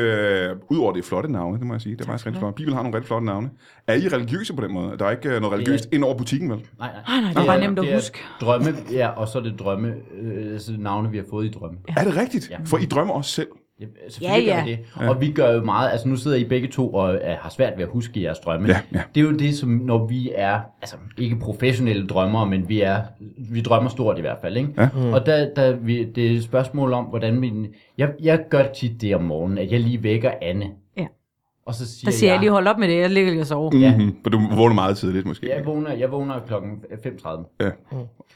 øh, udover det er flotte navne, det må jeg sige, det er faktisk rigtig flot. Bibelen har nogle rigtig flotte navne. Er I religiøse på den måde? Der er ikke øh, noget religiøst ind over butikken, vel?
Nej, nej.
Ej, nej, det er bare nemt at
det er
huske.
Drømme, ja, og så er det drømme, øh, altså navne, vi har fået i drømme.
Er det rigtigt? For I drømmer også selv.
Ja, øh, selvfølgelig
Ja,
ja, ja.
ja.
det. Og vi gør jo meget, altså nu sidder I begge to og øh, har svært ved at huske jeres drømme.
Ja, ja.
Det er jo det, som når vi er, altså ikke professionelle drømmere, men vi er, vi drømmer stort i hvert fald, ikke?
Ja.
Mm.
Og der, der vi, det er et spørgsmål om, hvordan min, jeg, jeg gør tit det om morgenen, at jeg lige vækker Anne.
Ja.
Og så siger,
Der siger jeg
jeg
lige, hold op med det, jeg ligger lige og sover.
Ja.
Mm-hmm. For du vågner meget tidligt, måske.
jeg vågner, jeg vågner klokken 5.30.
Ja.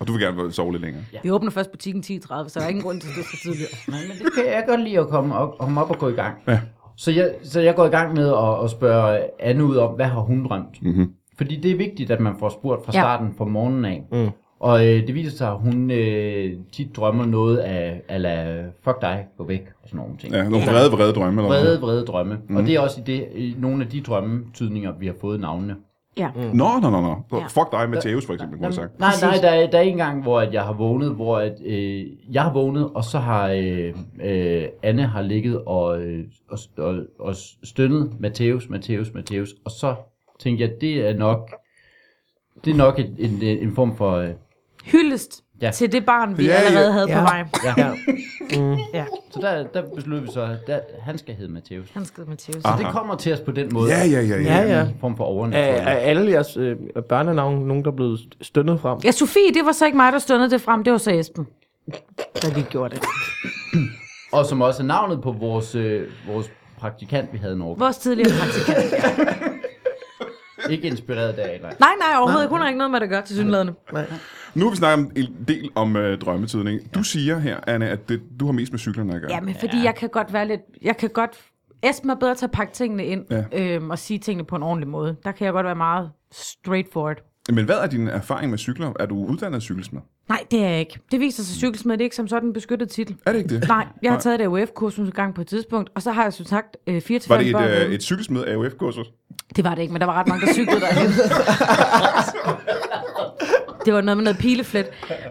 Og du vil gerne sove lidt længere.
Vi åbner først butikken 10.30, så der er ingen grund til, at det er så tidligt.
Nej, men det kan jeg godt lide at komme op, komme op og gå i gang.
Ja.
Så, jeg, så jeg går i gang med at, at spørge Anne ud om, hvad har hun drømt? Mm-hmm. Fordi det er vigtigt, at man får spurgt fra
Ja.
starten fra morgenen af. Mm. Og øh, det viser sig, at hun øh, tit drømmer noget af, ala, fuck dig, gå væk, og sådan nogle ting.
Ja, nogle vrede, vrede drømme. Eller
Vrede, vrede drømme. Mm. Og det er også i, det, i nogle af de drømmetydninger, vi har fået navnene.
Ja.
Nå, nå, nå, nå.
Ja.
Fuck dig, Matthäus, for eksempel, kunne jeg sagt.
Nej, nej, der, er- der er en gang, hvor at jeg har vågnet, hvor at, øh, jeg har vågnet, og så har øh, øh, Anne har ligget og, øh, og, og, og stønnet Matthæus, Matthæus, Matthæus, og så tænkte jeg, det er nok, det er nok en, en, en form for... Øh,
[LAUGHS] Hyldest ja.
Ja.
til det barn, vi
Ja,
ja,
ja.
allerede havde ja. på
Ja.
vej.
ja.
Ja,
Så der, der besluttede vi så, at der, han skal hedde Matthæus.
han skrev Matthæus.
Så det kommer til os på den måde.
Ja, ja, ja, ja.
Ja, ja.
En form for
Er,
overnaturligt.
er alle jeres øh, børnenavne nogen, der er blevet stønnet frem?
Ja, Sofie, det var så ikke mig, der stundede det frem. Det var så Esben, der lige gjorde det.
Og som også er navnet på vores, øh, vores praktikant, vi havde en år.
Vores tidligere praktikant.
Ikke inspireret deraf, nej.
Nej, nej, overhovedet ikke. Hun har ikke noget med det at gøre til synlædende.
Nu har vi snakket om en del om øh, drømmetydning. Du siger her, Anne, at det, du har mest med cyklerne at gøre.
Ja, men fordi ja. jeg kan godt være lidt... Jeg kan godt... Esben er bedre til at pakke tingene ind
Ja.
ja. øhm, og sige tingene på en ordentlig måde. Der kan jeg godt være meget straightforward.
Men hvad er din erfaring med cykler? Er du uddannet cykelsmed?
Nej, det er jeg ikke. Det viser sig cykelsmed, det er ikke som sådan en beskyttet titel.
Er det ikke det?
Nej, jeg har taget det AUF-kursus en gang på et tidspunkt, og så har jeg som sagt øh, 4 til
Var
børn.
det et, øh,
med.
et cykelsmed AUF-kursus?
Det var det ikke, men der var ret mange, der cyklede derhen. det var noget med noget pileflet.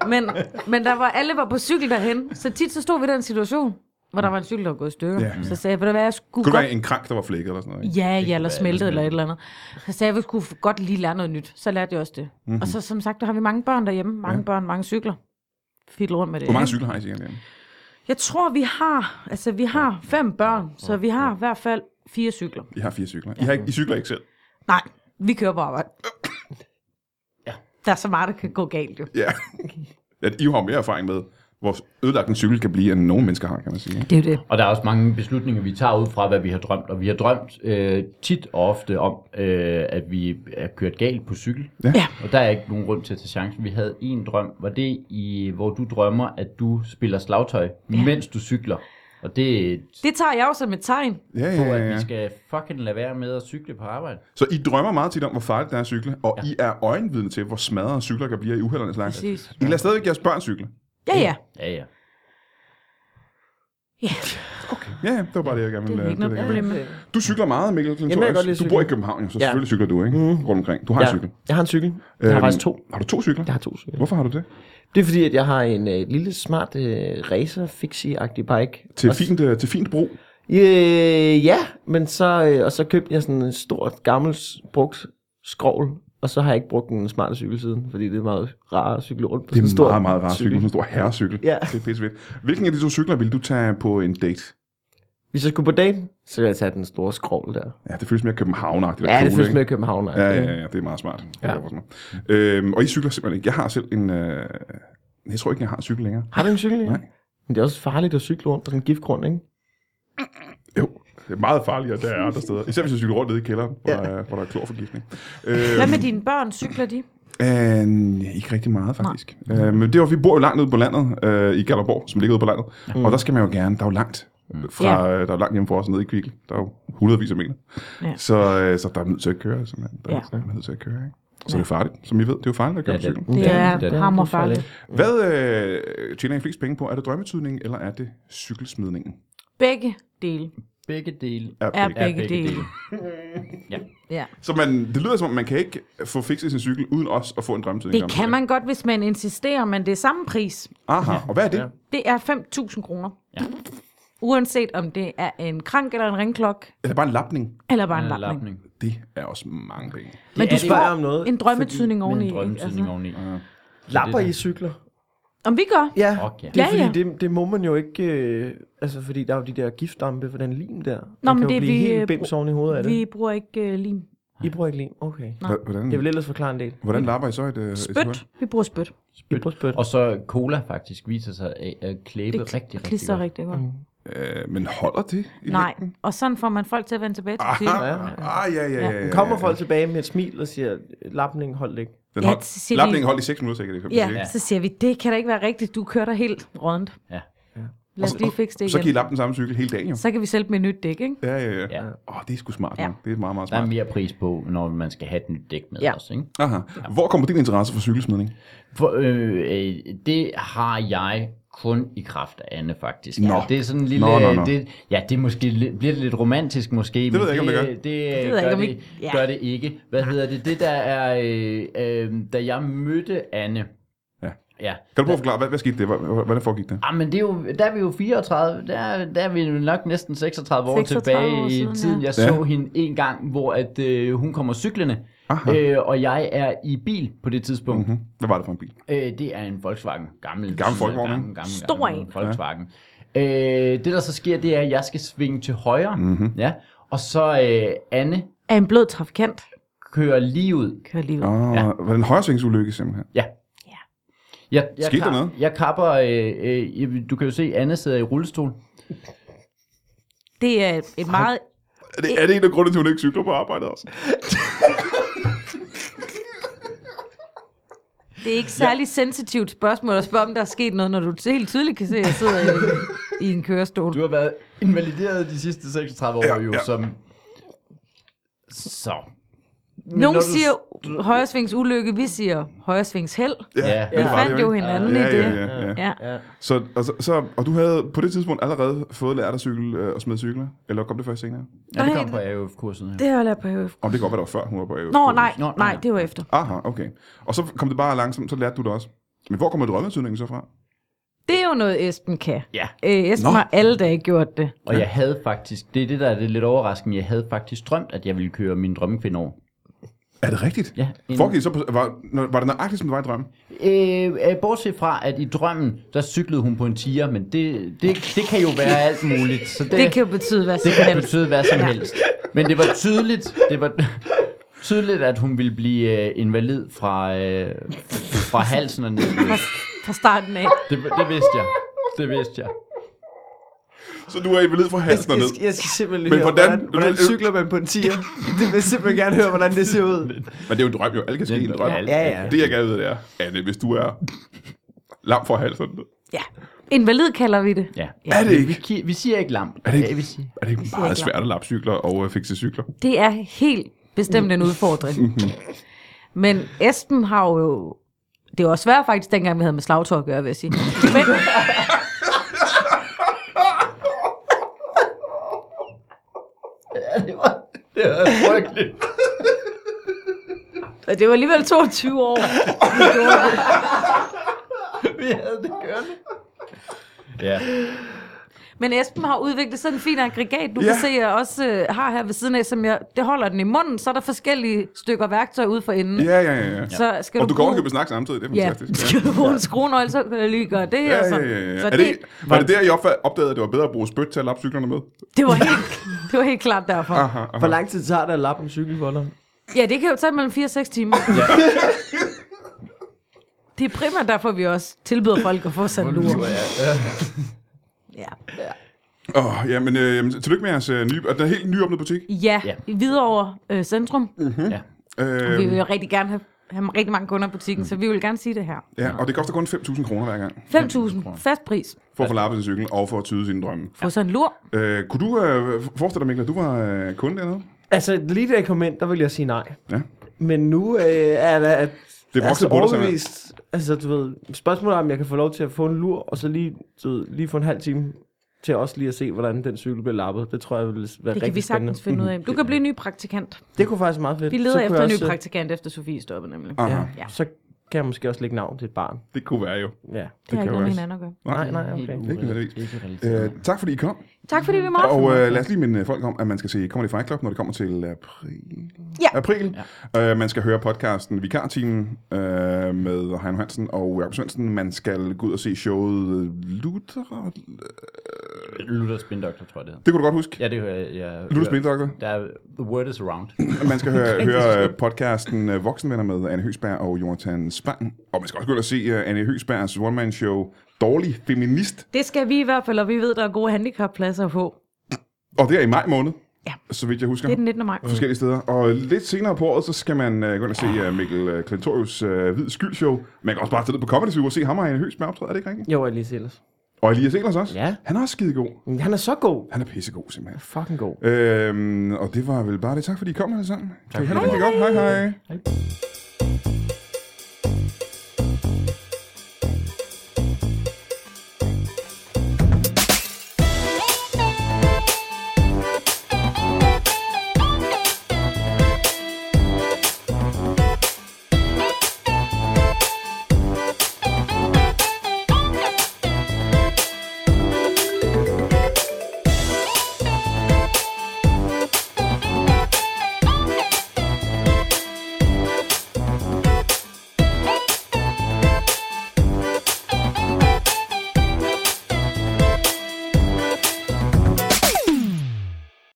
Men, men der var, alle var på cykel derhen, så tit så stod vi i den situation, hvor der var en cykel, der var gået i stykker.
Ja.
Ja. Så sagde jeg, ved du hvad, jeg skulle
Kunne det
godt...
være en krank, der var flækket eller sådan noget? Ikke?
Ja, ja, eller smeltet eller et eller andet. Så sagde jeg, vi skulle godt lige lære noget nyt. Så lærte jeg også det.
Mhm.
Mm-hmm. Og så som sagt, der har vi mange børn derhjemme. Mange ja. børn, mange cykler. Fiddle rundt med det.
Hvor mange
ikke?
cykler har I sikkert derhjemme?
Jeg tror, vi har, altså vi har fem børn, så vi har i hvert fald fire cykler.
I har fire cykler. I, har ikke, I cykler ikke selv?
Nej, vi kører på arbejde. Der er så meget, der kan gå galt jo.
[LAUGHS]
Ja. At I har mere erfaring med, hvor ødelagt en cykel kan blive, end nogen mennesker har, kan man sige.
Det er jo det.
Og der er også mange beslutninger, vi tager ud fra, hvad vi har drømt. Og vi har drømt øh, tit og ofte om, øh, at vi er kørt galt på cykel.
Ja.
Ja.
Og der er ikke nogen grund til at tage chancen. Vi havde en drøm, var det i, hvor du drømmer, at du spiller slagtøj, ja. mens du cykler. Og det er
Det tager jeg jo som et tegn.
Ja,
på,
ja, ja,
at
ja.
vi skal fucking lade være med at cykle på arbejde.
Så I drømmer meget tit om, hvor farligt det er at cykle, og ja. I er øjenvidne til, hvor smadrede cykler kan blive i uheldernes langt.
Præcis.
I lader stadigvæk jeres børn cykle.
Ja, ja.
Ja, ja.
Ja,
Ja, ja, det var bare det, jeg gerne
det
ville
er ikke
øh,
noget
tillægge.
problem. med.
Du cykler meget, Mikkel
jeg kan godt
Klintorius.
lide
Du
at
bor i
cykle.
København, jo, så
Ja.
selvfølgelig cykler du, ikke? Mm. Rundt omkring. Du har ja. en cykel.
Jeg har en cykel. Jeg har
Øhm,
faktisk to.
Har du to cykler?
Jeg har to cykler.
Hvorfor har du det?
Det er fordi, at jeg har en øh, lille smart øh, racer fixie agtig bike.
Til
Og s-
fint, øh, til fint brug.
Øh, ja, men så, øh, og så købte jeg sådan en stor, gammel, brugt skrovl, og så har jeg ikke brugt en smart cykel siden, fordi det er meget rart at cykle rundt på
Det
sådan en
er
stor
meget, meget rar cykel. Sådan en stor herrecykel.
Ja.
Det er pissevidt. Hvilken af de to cykler ville du tage på en date?
Hvis jeg skulle på date, så ville jeg tage den store skrovl der.
Ja, det føles mere københavnagtigt. og
Ja, det
cool,
føles
ikke?
med København.
Ja, ja, ja, det er meget smart.
Ja.
Ja. Øhm, og I cykler simpelthen ikke. Jeg har selv en... Øh, jeg tror ikke, jeg har en cykel længere.
Har du en cykel? Ja?
Nej.
Men det er også farligt at cykle rundt på sådan en giftgrund, ikke?
Jo, det er meget farligere, der er andre steder. Især hvis jeg cykler rundt nede i kælderen, hvor, ja. der, er- hvor der er klorforgiftning. Øhm,
Hvad med dine børn? Cykler de?
Øh, ja, ikke rigtig meget, faktisk. Øh, men det var, vi bor jo langt ude på landet, øh, i Galderborg, som ligger ude på landet. Mm. Og der skal man jo gerne, der er jo langt. øh, Fra, yeah. Der er langt hjemme for os nede i Kvikle. Der er jo hundredvis af meter.
Ja.
Så, øh, så der er nødt til at køre, simpelthen. Der,
Ja.
ja. er nødt til at køre, ikke? Så er det farligt, som I ved. Det er jo farligt at gøre
Ja,
ja,
det er
cykel.
Det er hammerfarligt.
Hvad øh, tjener I flest penge på? Er det drømmetydning, eller er det cykelsmidningen?
Begge dele
Begge dele
Er
er
begge.
er
begge, dele. Ja.
Så man, det lyder som om, man kan ikke få fikset sin cykel, uden også at få en drømmetydning.
Det
om
kan man godt, hvis man insisterer, men det er samme pris.
Aha, og hvad er det?
Ja.
Det er 5.000 kroner. Ja. Uanset om det er en krank eller en ringklok,
Er det bare en lapning?
eller bare en
En
lapning.
lapning.
Det er også mange penge.
Men
Men
du
du spørger
får
om noget.
en drømmetydning
Med
oveni. altså.
en
ikke?
drømmetydning oveni.
Lapper
det,
I cykler?
Om vi gør?
Ja.
Okay.
Det er
Ja,
fordi,
ja.
Det, det må man jo ikke... Øh, altså, fordi der er jo de der giftdampe for den lim der. Nå, man
men
kan
det
jo
er
blive
vi, øh,
helt bims oven i hovedet af det.
Vi bruger ikke uh, lim.
I bruger ikke lim? Okay.
Nej.
Hvordan,
Det vil ellers forklare en del.
hvordan lapper I så et... øh, et hul?
Spyt. Vi bruger spyt.
I bruger spyt.
Og så cola faktisk viser sig at, at klæbe
Det
rigtig, rigtig
klister
godt.
rigtig godt.
Øh, men holder det? I
Nej,
længden?
og sådan får man folk til at vende tilbage til cyklen.
Aha. Ah, ja, ja, ja. ja, ja.
Kommer folk tilbage med et smil og siger, lapning, hold ikke.
Den
Ja,
hold,
så siger de-
lapningen holdt i 6 minutter, sikkert. det er
Ja,
ikke?
så siger vi, det kan da ikke være rigtigt, du kører dig helt rundt.
Ja.
Lad os lige fikse det
Så kan I
igen.
lappe den samme cykel hele dagen, jo.
Så kan vi sælge dem et nyt dæk, ikke?
Ja, ja, ja.
Ja.
Åh, oh, det er sgu smart, ja.
Ja.
Det er meget, meget
Der er
smart.
mere pris på, når man skal have et nyt dæk med
Ja.
også, ikke?
Aha. Hvor kommer din interesse for cykelsmidning?
For, øh, øh, det har jeg kun i kraft af Anne, faktisk.
Nå.
Ja, det er sådan en lille...
Nå, nå, nå.
Det, ja, det er måske, lidt- bliver det lidt romantisk, måske. Det
ved jeg ikke, om det gør.
Det, det,
jeg
det gør,
ikke, om
det,
I- ja.
gør det ikke. Hvad hedder det? Det der er... Øh, øh, da jeg mødte Anne...
Ja.
Ja,
Kan du prøve at forklare, hvad, hvad skete det? Hvor- Hvordan foregik det?
Ah, men det er jo, der er vi jo 34, der, er- der er vi jo nok næsten 36 år
36
tilbage
år
i
siden,
tiden.
ja.
Jeg så hende en gang, hvor at, øh, hun kommer cyklende,
Aha.
øh, og jeg er i bil på det tidspunkt.
Mhm. Hvad var det for en bil?
Øh, det er en Volkswagen. Gammel,
Gammel Volkswagen,
gammel,
ikke?
gammel,
Stor
gammel
en.
Volkswagen. Øh, det, der så sker, det er, at jeg skal svinge til højre.
Mhm.
Mm-hmm. Ja, og så øh, Anne
Er en blød trafikant,
kører lige ud.
kører lige ud.
Åh,
Ja.
var det en højresvingsulykke simpelthen?
Ja. Jeg, jeg,
Skete der
kap-
noget?
jeg kapper, øh, øh, jeg- du kan jo se, Anne sidder i rullestol.
Det er et meget...
Er det, er det en af grundene til, at hun ikke cykler på altså? arbejdet også?
Det er ikke særlig ja. sensitivt spørgsmål at spørge, om der er sket noget, når du helt tydeligt kan se, at jeg sidder i, i en kørestol.
Du har været invalideret de sidste 36 år,
Ja,
ja, jo,
ja.
ja. som... Så.
Nogle
Når du-
siger højresvings ulykke, vi siger højresvings held.
Ja.
Men
Vi
det var det
fandt jo
ikke.
hinanden
Ja,
i det.
ja, ja, ja.
ja.
Så, og, så, så, og du havde på det tidspunkt allerede fået lært at cykle øh, og smide cykler? Eller kom det først senere?
Ja, det
Nej,
kom på AUF-kurset her.
Det har jeg lært på HF.
Om det kan godt være, det var før hun var på AU.
Nå, nej,
Nå, nej.
nej, det var efter.
Aha, okay. Og så kom det bare langsomt, så lærte du det også. Men hvor kommer drømmetydningen så fra?
Det er jo noget, Esben kan.
Ja.
Øh, Esben
Nå.
har alle dage gjort det.
Og jeg havde faktisk, det er det, der er det lidt overraskende, jeg havde faktisk drømt, at jeg ville køre min drømmekvinde over.
Er det rigtigt?
Ja, en-
Foregik det så på, var, når- var det nøjagtigt, som det var i drømmen?
Øh, øh, bortset fra, at i drømmen, der cyklede hun på en tiger, men det, det, det kan jo være alt muligt. Så det,
Det kan jo betyde hvad som
det kan
helst.
betyde hvad som helst. Men det var tydeligt, det var tydeligt, at hun ville blive øh, invalid fra, øh, fra halsen og ned.
Fra, fra starten af.
Det, det vidste jeg. Det vidste jeg.
Så du er invalid fra halsen og
Jeg
ned.
skal, jeg skal simpelthen
Men
høre,
hvordan-
hvordan, hvordan, hvordan
hvordan-
cykler man på en tier? det vil [LAUGHS] jeg simpelthen gerne høre, hvordan det ser ud.
Men det er jo en drøm jo. Alle kan ske i en drøm.
Ja,
[LAUGHS] Ja, ja.
Det jeg gerne vil vide, det er, Anne, hvis du er lam fra halsen og ned.
Ja. Invalid kalder vi det.
Ja.
Er det ikke?
Vi, ki- vi siger ikke lam.
Er det ikke-
Ja, vi siger.
Er det ikke
siger
meget
ikke lam.
svært at lappe cykler og øh, fikse cykler?
Det er helt bestemt en udfordring.
Mhm.
Men Esben har jo... Det var svært faktisk, dengang vi havde med slagtøj at gøre, vil jeg sige. Men,
[LAUGHS]
Det var, det [LAUGHS] var frygteligt.
og det var alligevel 22 år.
Vi havde det kørende. Ja.
Men Esben har udviklet sådan en fin aggregat, du
Ja.
ja. kan se, jeg også øh, har her ved siden af, som jeg... Det holder den i munden, så er der forskellige stykker værktøj ude for enden.
Ja, ja, ja. ja.
Så skal
Og du
du
kan
bruge-
overkøbe snakke samtidig, det er
Ja, [LAUGHS]
fantastisk.
skal du bruge en skruenøgle, så kan jeg lige gøre det her.
Ja,
og
ja,
sådan.
ja, ja.
Så
Er det, ikke- var det der, I opfa- opdagede, at det var bedre at bruge spyt til at lappe cyklerne med?
Det var helt, det var helt klart derfor.
Ah.
Aha, aha.
Hvor lang tid tager det at lappe en cykel for dig?
Ja, det kan jo tage mellem 4 og 6 timer. [LAUGHS] det er primært derfor, vi også tilbyder folk at få sig en lur. Ja.
Åh, ja, men øh, jamen, tillykke med jeres øh, nye, og den er helt nyåbnet butik.
Ja,
Ja.
i Hvidovre øh, Centrum.
ja.
Øh,
Øhm.
Vi vil jo rigtig gerne have, have rigtig mange kunder i butikken, så vi vil gerne sige det her.
ja, og det koster kun 5.000 kroner hver gang,
5.000 fast pris.
for at få lappet sin cykel og for at tyde sine drømme.
Få sig en lur.
Øh, kunne du øh, forestille dig, Mikkel, at du var øh, kunde dernede?
Altså, lige da jeg kom ind, der ville jeg sige nej.
Ja.
Men nu øh, er der... At,
Det er vokset på dig, simpelthen.
overbevist. Altså, du ved, spørgsmålet er, om jeg kan få lov til at få en lur, og så lige, du ved, lige få en halv time til også lige at se, hvordan den cykel bliver lappet. Det tror jeg ville være
Det
rigtig
kan vi sagtens
spændende.
finde ud af. Du kan blive ny praktikant.
Det kunne faktisk være meget fedt.
Vi
Så
leder
kunne
efter
jeg
en ny
også- øh,
praktikant, efter Sofie stopper nemlig.
Aha,
Ja, ja. så kan jeg måske også lægge navn til et barn.
det kunne være jo.
Ja.
Det har
kan
ikke
jo
noget med
også-
hinanden at gøre.
Nej, nej, okay.
Det kan det
ikke.
Øh, tak fordi I kom.
Tak fordi vi måtte.
Og øh, lad os lige minde folk om, at man skal se Comedy Fight Club, når det kommer til april.
Ja.
april. Ja. Øh, man skal høre podcasten Vikartimen øh, med Heino Hansen og Jakob Svendsen. Man skal gå ud og se showet øh, Luther.
Luther Spindoktor, tror jeg det hedder.
Det kunne du godt huske.
Ja, det hører jeg. jeg
Luther
hører-
Spindoktor.
Der er, the word is around.
Man skal høre, høre øh, podcasten øh, Voksenvenner med Anne Høsberg og Jonathan Spang. Og man skal også gå ud og se øh, Anne Høsbergs one-man-show Dårlig Feminist.
Det skal vi i hvert fald, og vi ved, der er gode handicappladser på.
Og det er i maj måned,
Ja.
så vidt jeg husker.
Det er den 19. maj.
forskellige steder. Og lidt senere på året, så skal man øh, gå ind og se øh, Mikkel øh, Klintorius øh, Hvid Skyldshow. Man kan også bare tage ned på Comedy Zoo og se ham og Anne Høs med optræde, er det ikke rigtigt?
Jo, jeg lige ellers.
Og Elias Ehlers også.
Ja.
Han er også skidegod.
Men Han er så god.
Han er pissegod, simpelthen.
Fucking god.
Øhm, og det var vel bare det. Tak fordi I kom alle sammen. Tak. Hej, hej. hej. hej.